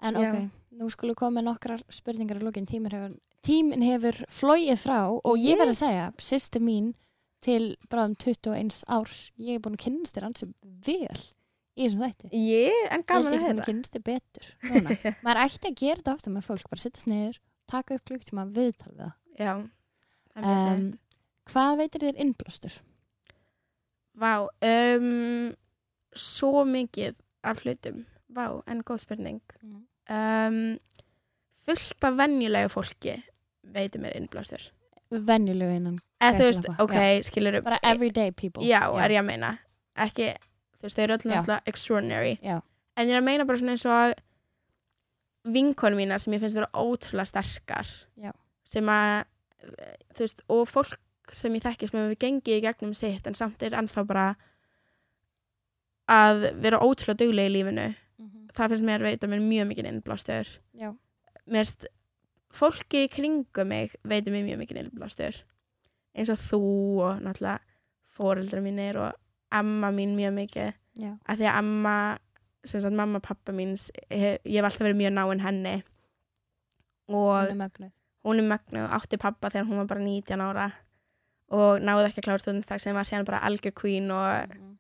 Speaker 1: En
Speaker 2: já.
Speaker 1: ok, nú skulum við koma með nokkrar spurningar í lókin. Tímin hefur, tímin hefur flóið frá og ég verð að segja, sýsti mín til um bráðum 21 árs, ég er búin að kynnast þér ansið vel í þessum þætti.
Speaker 2: ég, en
Speaker 1: Ég
Speaker 2: gaman
Speaker 1: held ég
Speaker 2: að
Speaker 1: sem búin
Speaker 2: heyra
Speaker 1: að kynnast þér betur.
Speaker 2: <laughs>
Speaker 1: núna. Maður ætti að gera þetta ofta með fólk, bara sittast niður, taka upp klukktíma viðtal við það.
Speaker 2: já, það er mjög um,
Speaker 1: Em, hvað veitir þér innblástur?
Speaker 2: vá um, svo mikið af hlutum vá, en góð spurning
Speaker 1: Mm.
Speaker 2: um, fullt af venjulegu fólki veitir mér innblástur
Speaker 1: Venjulegu innan,
Speaker 2: eða þú veist,
Speaker 1: Gæsalappa,
Speaker 2: ok, skilur upp
Speaker 1: bara everyday people.
Speaker 2: Eh, já, er ég að meina ekki, þú veist, þau eru öll náttúrulega extraordinary
Speaker 1: Já.
Speaker 2: en ég er að meina bara svona eins og vinkonu mína sem ég finnst vera ótrúlega sterkar
Speaker 1: Já.
Speaker 2: sem að þú veist, og fólk sem ég þekki sem hefur gengið í gegnum sitt en samt er ennþá bara að vera ótrúlega duglega í lífinu
Speaker 1: Mhm.
Speaker 2: það finnst mér veita mér mjög mikið innblástur
Speaker 1: Já.
Speaker 2: mér finnst fólki í kringum mig veitir mér mjög mikið innblástur eins og þú og náttúrulega fóreldra mínir og amma mín mjög mikið
Speaker 1: Já.
Speaker 2: að því að amma sem sagt mamma pappa mín ég hef alltaf verið mjög náinn henni og
Speaker 1: hún er mögnuð.
Speaker 2: hún er mögnuð og átti pappa þegar hún var bara 19 ára og náði ekki að klára stundinstag sem var síðan bara algjör queen og
Speaker 1: Mhm.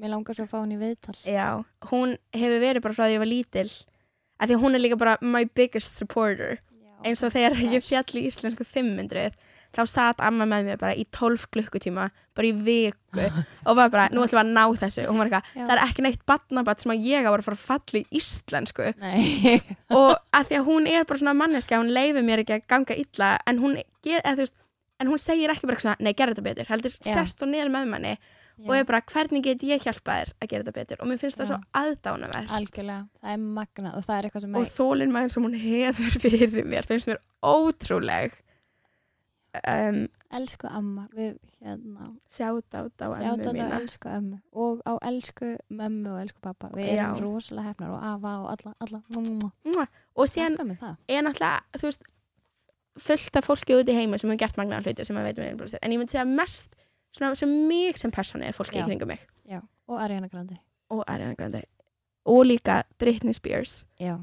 Speaker 1: Mér langar svo að fá hún í viðtal.
Speaker 2: já, hún hefur verið bara frá því að ég var lítil af því að hún er líka bara my biggest supporter
Speaker 1: Oh
Speaker 2: eins og þegar ég
Speaker 1: Yes.
Speaker 2: fjall í íslensku 500 þá satt amma með mér bara í 12 klukkutíma, bara í
Speaker 1: <laughs>
Speaker 2: viku og var bara, nú ætlum við að ná þessu og hún var eitthvað,
Speaker 1: Já.
Speaker 2: það er ekki neitt batnabat sem að ég á að fara að falla í íslensku
Speaker 1: Nei, <laughs>
Speaker 2: og að því að hún er bara svona manneska hún leifir mér ekki að ganga illa en hún, ger, eða, þú veist, en hún segir ekki bara eitthvað svona, nei, gerðu þetta betur, heldur
Speaker 1: Já.
Speaker 2: sest og niður með manni <laughs> og er bara, hvernig get ég hjálpa þér að gera þetta betur og mér finnst
Speaker 1: Já.
Speaker 2: það svo aðdánavert
Speaker 1: algjörlega, það er magnað og það er eitthvað sem
Speaker 2: og þólinn maður sem hún hefur <laughs> fyrir mér finnst mér ótrúleg um,
Speaker 1: elsku amma við hérna
Speaker 2: sjátt á þetta á
Speaker 1: sjátt
Speaker 2: emmi
Speaker 1: á
Speaker 2: mína
Speaker 1: elsku ömmu og á elsku mömmu og elsku pappa við erum
Speaker 2: Já.
Speaker 1: rosalega hefnar og afa og alla, alla mú, mú, mú.
Speaker 2: Mua. og síðan
Speaker 1: Áfram með það.
Speaker 2: er náttúrulega, þú veist fullt af fólki út í heimi sem hefur gert magnaðan hluti sem maður veit með innblóðsir, en ég myndi segja mest svona sem mig sem persóni er fólki
Speaker 1: Já.
Speaker 2: í kringum mig
Speaker 1: og Ariana Grande
Speaker 2: og Ariana Grande og líka Britney Spears
Speaker 1: já,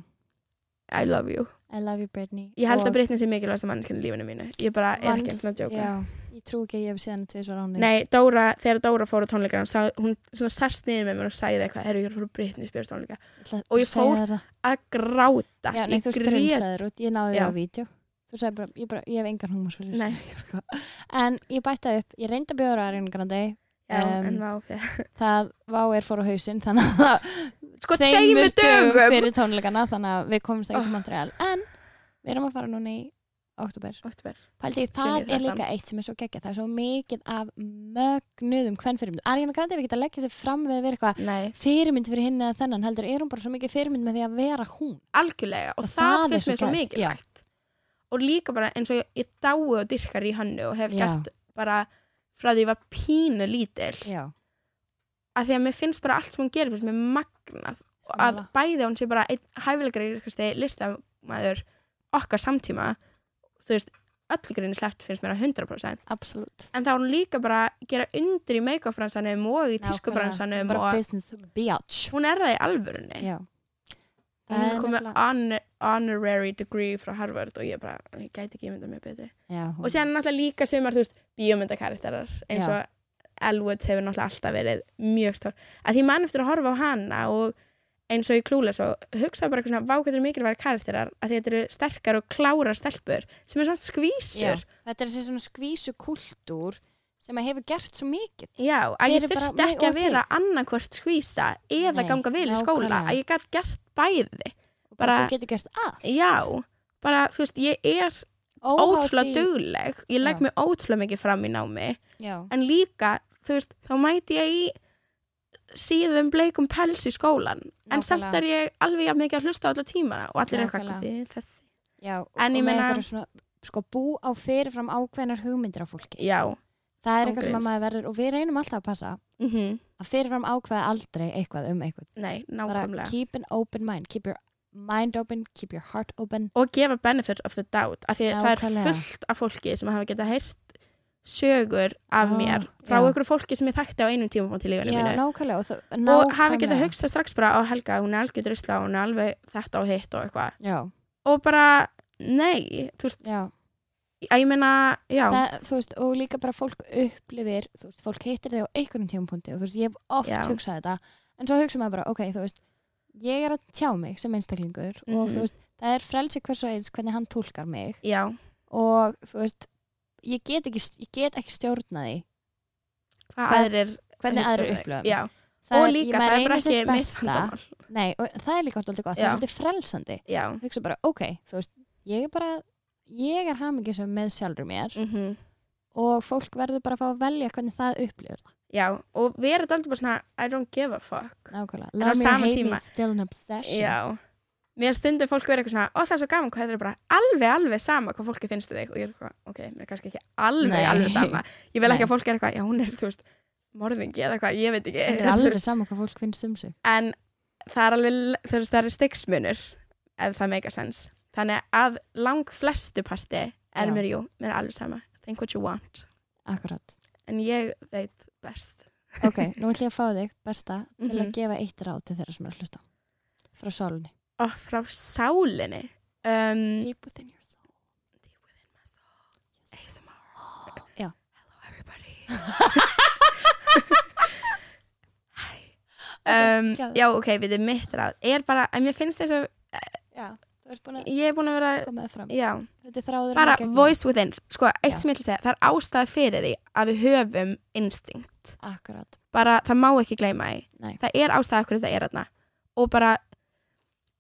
Speaker 2: I love you
Speaker 1: I love you Britney
Speaker 2: ég held
Speaker 1: Og
Speaker 2: að Britney sé mikilvægast að mannskjörn í lífinu mínu ég bara er
Speaker 1: manns-
Speaker 2: ekki einn að djóka
Speaker 1: já, ég trú ekki að ég hef séð hann tvisvar á hann
Speaker 2: nei, Dóra, þegar Dóra fór á tónleikana sá, hún svona sest niður með mér og sagði eitthvað herru, ég er að fór á Britney Spears tónleika og ég fór- að gráta,
Speaker 1: já, nei,
Speaker 2: ég
Speaker 1: þú strunsaður út, ég náði
Speaker 2: Já.
Speaker 1: það á vídeo þú sagði bara, ég, bara, ég hef engan humor fyrir þessu.
Speaker 2: nei,
Speaker 1: <laughs> en ég bætti upp, ég reyndi að bjóra Ariana Grande
Speaker 2: já,
Speaker 1: Um,
Speaker 2: en vá ok
Speaker 1: það vá er fór á hausinn þannig að
Speaker 2: sko tveimur dögum
Speaker 1: fyrir tónleikana þannig að við komumst ekki
Speaker 2: Oh.
Speaker 1: til Montreal en við erum að fara núna í oktober
Speaker 2: Óttúber.
Speaker 1: Pældi,
Speaker 2: Sviljið
Speaker 1: það er
Speaker 2: þetta.
Speaker 1: líka eitt sem er svo geggja það er svo mikið af mögnuðum hvernfyrirmynd Ariana Grande er ekki að leggja sér fram við að vera eitthvað
Speaker 2: nei,
Speaker 1: fyrirmynd fyrir hinn eða þennan heldur er hún bara svo mikið fyrirmynd með því að vera hún
Speaker 2: algjörlega og,
Speaker 1: Og
Speaker 2: það,
Speaker 1: það er
Speaker 2: finnst
Speaker 1: svo
Speaker 2: mér svo
Speaker 1: gæð,
Speaker 2: mikilvægt og líka bara eins og ég, ég dái og dyrkar í hannu og hef
Speaker 1: Já.
Speaker 2: gert bara frá því ég var pínu lítil
Speaker 1: já,
Speaker 2: að því að mér finnst bara allt sem hún gerir finnst mér magnað og að
Speaker 1: Sammála.
Speaker 2: bæði að hún sé bara einn hæfilegar yrkastegi listamæður okkar samtíma þú veist, öllu grinni sleppt finnst mér að 100%
Speaker 1: absolutt
Speaker 2: en þá er hún líka bara að gera undir í make-up bransanum og í tísku bransanum
Speaker 1: bara
Speaker 2: og
Speaker 1: business biatch
Speaker 2: hún er það í alvörunni
Speaker 1: já
Speaker 2: hún
Speaker 1: Það
Speaker 2: er
Speaker 1: er
Speaker 2: komið
Speaker 1: nefnilega-
Speaker 2: honor, honorary degree frá Harvard og ég bara, ég gæti ekki mynda mér betri
Speaker 1: já, hún-
Speaker 2: og síðan náttúrulega líka sumar, þú veist, bíómyndakarakterar eins
Speaker 1: Já.
Speaker 2: og Elwoods hefur náttúrulega alltaf verið mjög stór að því mann eftir að horfa á hana og eins og í klúla svo, hugsa bara eitthvað svona vákvæður mikilværi karakterar að því þetta eru sterkar og klárar stelpur sem er svona skvísur já,
Speaker 1: þetta er þessi svona skvísu kultúr sem að hefur gert svo mikið
Speaker 2: að ég
Speaker 1: Fyrir bara
Speaker 2: þurfti
Speaker 1: mig
Speaker 2: ekki
Speaker 1: og
Speaker 2: að vera annarkvort skvísa eða
Speaker 1: Nei,
Speaker 2: ganga vel í skóla
Speaker 1: nákvæmlega.
Speaker 2: að ég gætt gert bæði
Speaker 1: og bara,
Speaker 2: Bara-
Speaker 1: þú getur gert allt
Speaker 2: já, bara þú veist, ég er
Speaker 1: Óháð
Speaker 2: ótrúlega
Speaker 1: því-
Speaker 2: dugleg ég legg
Speaker 1: Já.
Speaker 2: mig ótrúlega mikið fram í námi
Speaker 1: já,
Speaker 2: en líka, þú veist, þá mæti ég í síðum bleikum pels í skólan en
Speaker 1: Nákvæmlega.
Speaker 2: samt er ég alveg jafn mikið að hlusta á alla tímana og allir er eitthvað
Speaker 1: Nákvæmlega.
Speaker 2: hvað þið er þessi
Speaker 1: já, og,
Speaker 2: En
Speaker 1: og
Speaker 2: ég
Speaker 1: með
Speaker 2: meina-
Speaker 1: eitthvað svona sko bú á fyrirfram ákveðnar hugmyndir á fólki
Speaker 2: já,
Speaker 1: það er eitthvað sem að
Speaker 2: ángríns.
Speaker 1: maður verður og við reynum alltaf að passa
Speaker 2: mm
Speaker 1: að fyrirfram ákveða aldrei eitthvað um eitthvað
Speaker 2: nei,
Speaker 1: bara
Speaker 2: nákvæmlega
Speaker 1: keep an open mind keep your mind open, keep your heart open
Speaker 2: og gefa benefit of the doubt af því að það er
Speaker 1: Nákvæmlega.
Speaker 2: fullt af fólki sem hafa getað heyrt sögur af
Speaker 1: Ah,
Speaker 2: mér frá
Speaker 1: já.
Speaker 2: ykkur fólki sem ég þekkti á einum tímapunkt í lífunum
Speaker 1: já,
Speaker 2: mínu
Speaker 1: nákvæmlega og, það-
Speaker 2: og hafa
Speaker 1: nákvæmlega.
Speaker 2: getað hugsað strax bara á Helga, hún er algjör drusla og hún er alveg þetta og hitt og eitthvað
Speaker 1: já,
Speaker 2: og bara, nei, þú veist
Speaker 1: já.
Speaker 2: að ég meina, já,
Speaker 1: Það, þú veist, og líka bara fólk upplifir þú veist, fólk hittir þig á einhvern tímapunkti og þú veist, ég hef oft
Speaker 2: Já.
Speaker 1: hugsað þetta en svo hugsa maður bara, ok, þú veist ég er að tjá mig sem einstaklingur og
Speaker 2: Mhm.
Speaker 1: þú veist, það er frelsi hvers og eins hvernig hann tólkar mig
Speaker 2: já,
Speaker 1: og þú veist, ég get ekki, ég get ekki stjórna því
Speaker 2: hvað
Speaker 1: Hvað-
Speaker 2: aðrir
Speaker 1: hvernig
Speaker 2: hugsa um
Speaker 1: aðrir
Speaker 2: þig.
Speaker 1: upplöfum
Speaker 2: Já,
Speaker 1: Það
Speaker 2: og
Speaker 1: er-
Speaker 2: líka,
Speaker 1: maður
Speaker 2: það er
Speaker 1: reynir
Speaker 2: bara ekki
Speaker 1: sitt besta.
Speaker 2: mistandamál
Speaker 1: Nei, og það er líka alltaf gott, það er
Speaker 2: Já.
Speaker 1: svolítið frelsandi
Speaker 2: Já,
Speaker 1: hugsa bara, ok, þú veist, ég er bara ég er hamingisum með sjálfur mér
Speaker 2: mm
Speaker 1: og fólk verður bara að fá að velja hvernig það upplifir það
Speaker 2: já, og við erum alltaf bara svona I don't give a fuck
Speaker 1: Nákvæmlega,
Speaker 2: En á
Speaker 1: love me or
Speaker 2: sama
Speaker 1: hate me,
Speaker 2: tíma-
Speaker 1: it's still an obsession
Speaker 2: Já, mér stundum fólk verið eitthvað svona, ó það er svo gaman hvað þetta er bara alveg, alveg sama hvað fólki finnst um þig og ég er eitthvað, ok, mér er kannski ekki alveg,
Speaker 1: Nei.
Speaker 2: alveg sama Ég vil
Speaker 1: Nei.
Speaker 2: ekki að fólk er eitthvað, já hún er, þú veist morðingi eða eitthvað, ég veit ekki
Speaker 1: Það er
Speaker 2: þú
Speaker 1: alveg
Speaker 2: veist,
Speaker 1: sama hvað fólk finnst um sig.
Speaker 2: En það er alveg, þú veist, það er stiksmunur ef það meika sens Þannig að lang flestu parti er
Speaker 1: Já.
Speaker 2: mér, jú, mér er alveg sama Think what you want <laughs>
Speaker 1: Akkurat.
Speaker 2: en ég veit best
Speaker 1: Ok, nú ætlum ég að fá þig, besta, til
Speaker 2: Mhm.
Speaker 1: að gefa eitt ráð til þeirra sem er að hlusta. Frá sálunni.
Speaker 2: og frá sálinni um,
Speaker 1: Deep within your soul.
Speaker 2: ASMR
Speaker 1: Já.
Speaker 2: Hello
Speaker 1: <laughs>
Speaker 2: everybody Hi um,
Speaker 1: geðveikt.
Speaker 2: Já, ok, við þið mitt ráð er bara, en mér finnst þess að
Speaker 1: Já, þú ert búin að
Speaker 2: ég er búin að vera
Speaker 1: koma það fram.
Speaker 2: já,
Speaker 1: Þetta er þráður
Speaker 2: bara voice within sko, eitt
Speaker 1: Já.
Speaker 2: sem ég ætla að segja, það er ástæð fyrir því að við höfum instinct
Speaker 1: Akkurát.
Speaker 2: bara, það má ekki gleyma því
Speaker 1: Nei.
Speaker 2: það er ástæða okkur þetta er þarna og bara,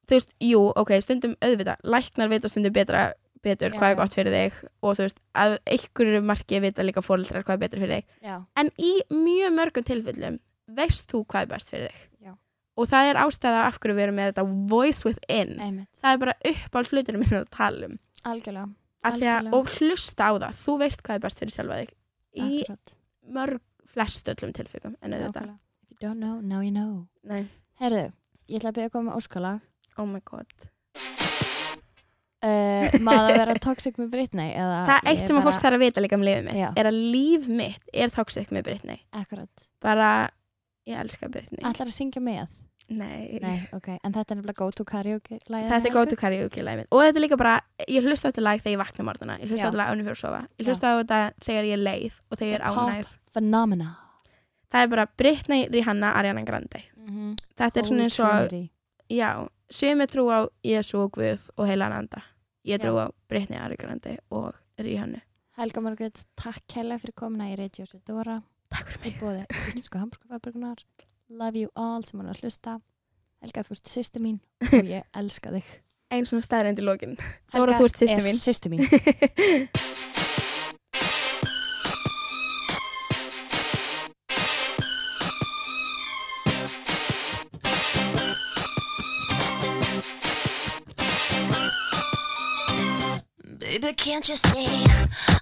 Speaker 2: þú veist, jú, ok stundum auðvitað, læknar vita stundum betra betur
Speaker 1: Já,
Speaker 2: hvað
Speaker 1: já.
Speaker 2: er gott fyrir þig og þú veist, að einhverju marki vita líka fóreldrar hvað er betur fyrir þig
Speaker 1: Já,
Speaker 2: en í mjög mörgum tilfellum veist þú hvað er best fyrir þig
Speaker 1: Já.
Speaker 2: og það er ástæða af hverju við erum með þetta voice within
Speaker 1: einmitt.
Speaker 2: það er bara upp á hlutunum minn að tala um
Speaker 1: Algjörlega.
Speaker 2: Af því að,
Speaker 1: Algjörlega.
Speaker 2: og hlusta á það, þú veist hvað er best fyrir sjálfa þig í
Speaker 1: Akkurát.
Speaker 2: mörg flest öllum tilfellum en auðvitað,
Speaker 1: Nákvæmlega. If you don't know, now you know.
Speaker 2: nei,
Speaker 1: Herðu, ég ætla að byrja að koma með óskalag.
Speaker 2: <laughs> oh my god
Speaker 1: uh, maður að vera toxic með Britney eða
Speaker 2: það er eitt sem að fólk þarf að vita líka um lífið mitt
Speaker 1: Já.
Speaker 2: er að líf mitt er toxic með Britney
Speaker 1: akkurat,
Speaker 2: bara, ég elska Britney
Speaker 1: ætlar að syngja með
Speaker 2: nei.
Speaker 1: nei, ok, en þetta er nefnilega go to karaoke lagið
Speaker 2: þetta er gótu karaoke lagið mitt og þetta er líka bara, ég hlusta á þetta lag þegar ég vakna morgana ég hlusta
Speaker 1: Já.
Speaker 2: á þetta lag ánum fyrir að sofa ég hlusta á þetta þegar ég er leið og þegar ég er
Speaker 1: Þetta er pop.
Speaker 2: ánægð
Speaker 1: phenomena
Speaker 2: það er bara Britney, Rihanna, Ariana Grande
Speaker 1: mm
Speaker 2: Mhm. þetta er svona eins og,
Speaker 1: trinity
Speaker 2: já sem er trú á Jésu og Guð og heilan anda ég
Speaker 1: Já.
Speaker 2: trú á Britney, Ariana Grande og Rihanna
Speaker 1: Helga Margrét, takk hella fyrir komina í Radio Sedora
Speaker 2: takk fyrir
Speaker 1: í
Speaker 2: mig
Speaker 1: bóði Íslensku Hamburgerfabrikunar Love you all sem hann að hlusta Helga, þú ert sýsti mín og ég elska þig
Speaker 2: einn svona staðrænd í lokin Dóra,
Speaker 1: Helga
Speaker 2: þú ert systir
Speaker 1: er
Speaker 2: mín.
Speaker 1: systir mín
Speaker 3: Baby, can't you see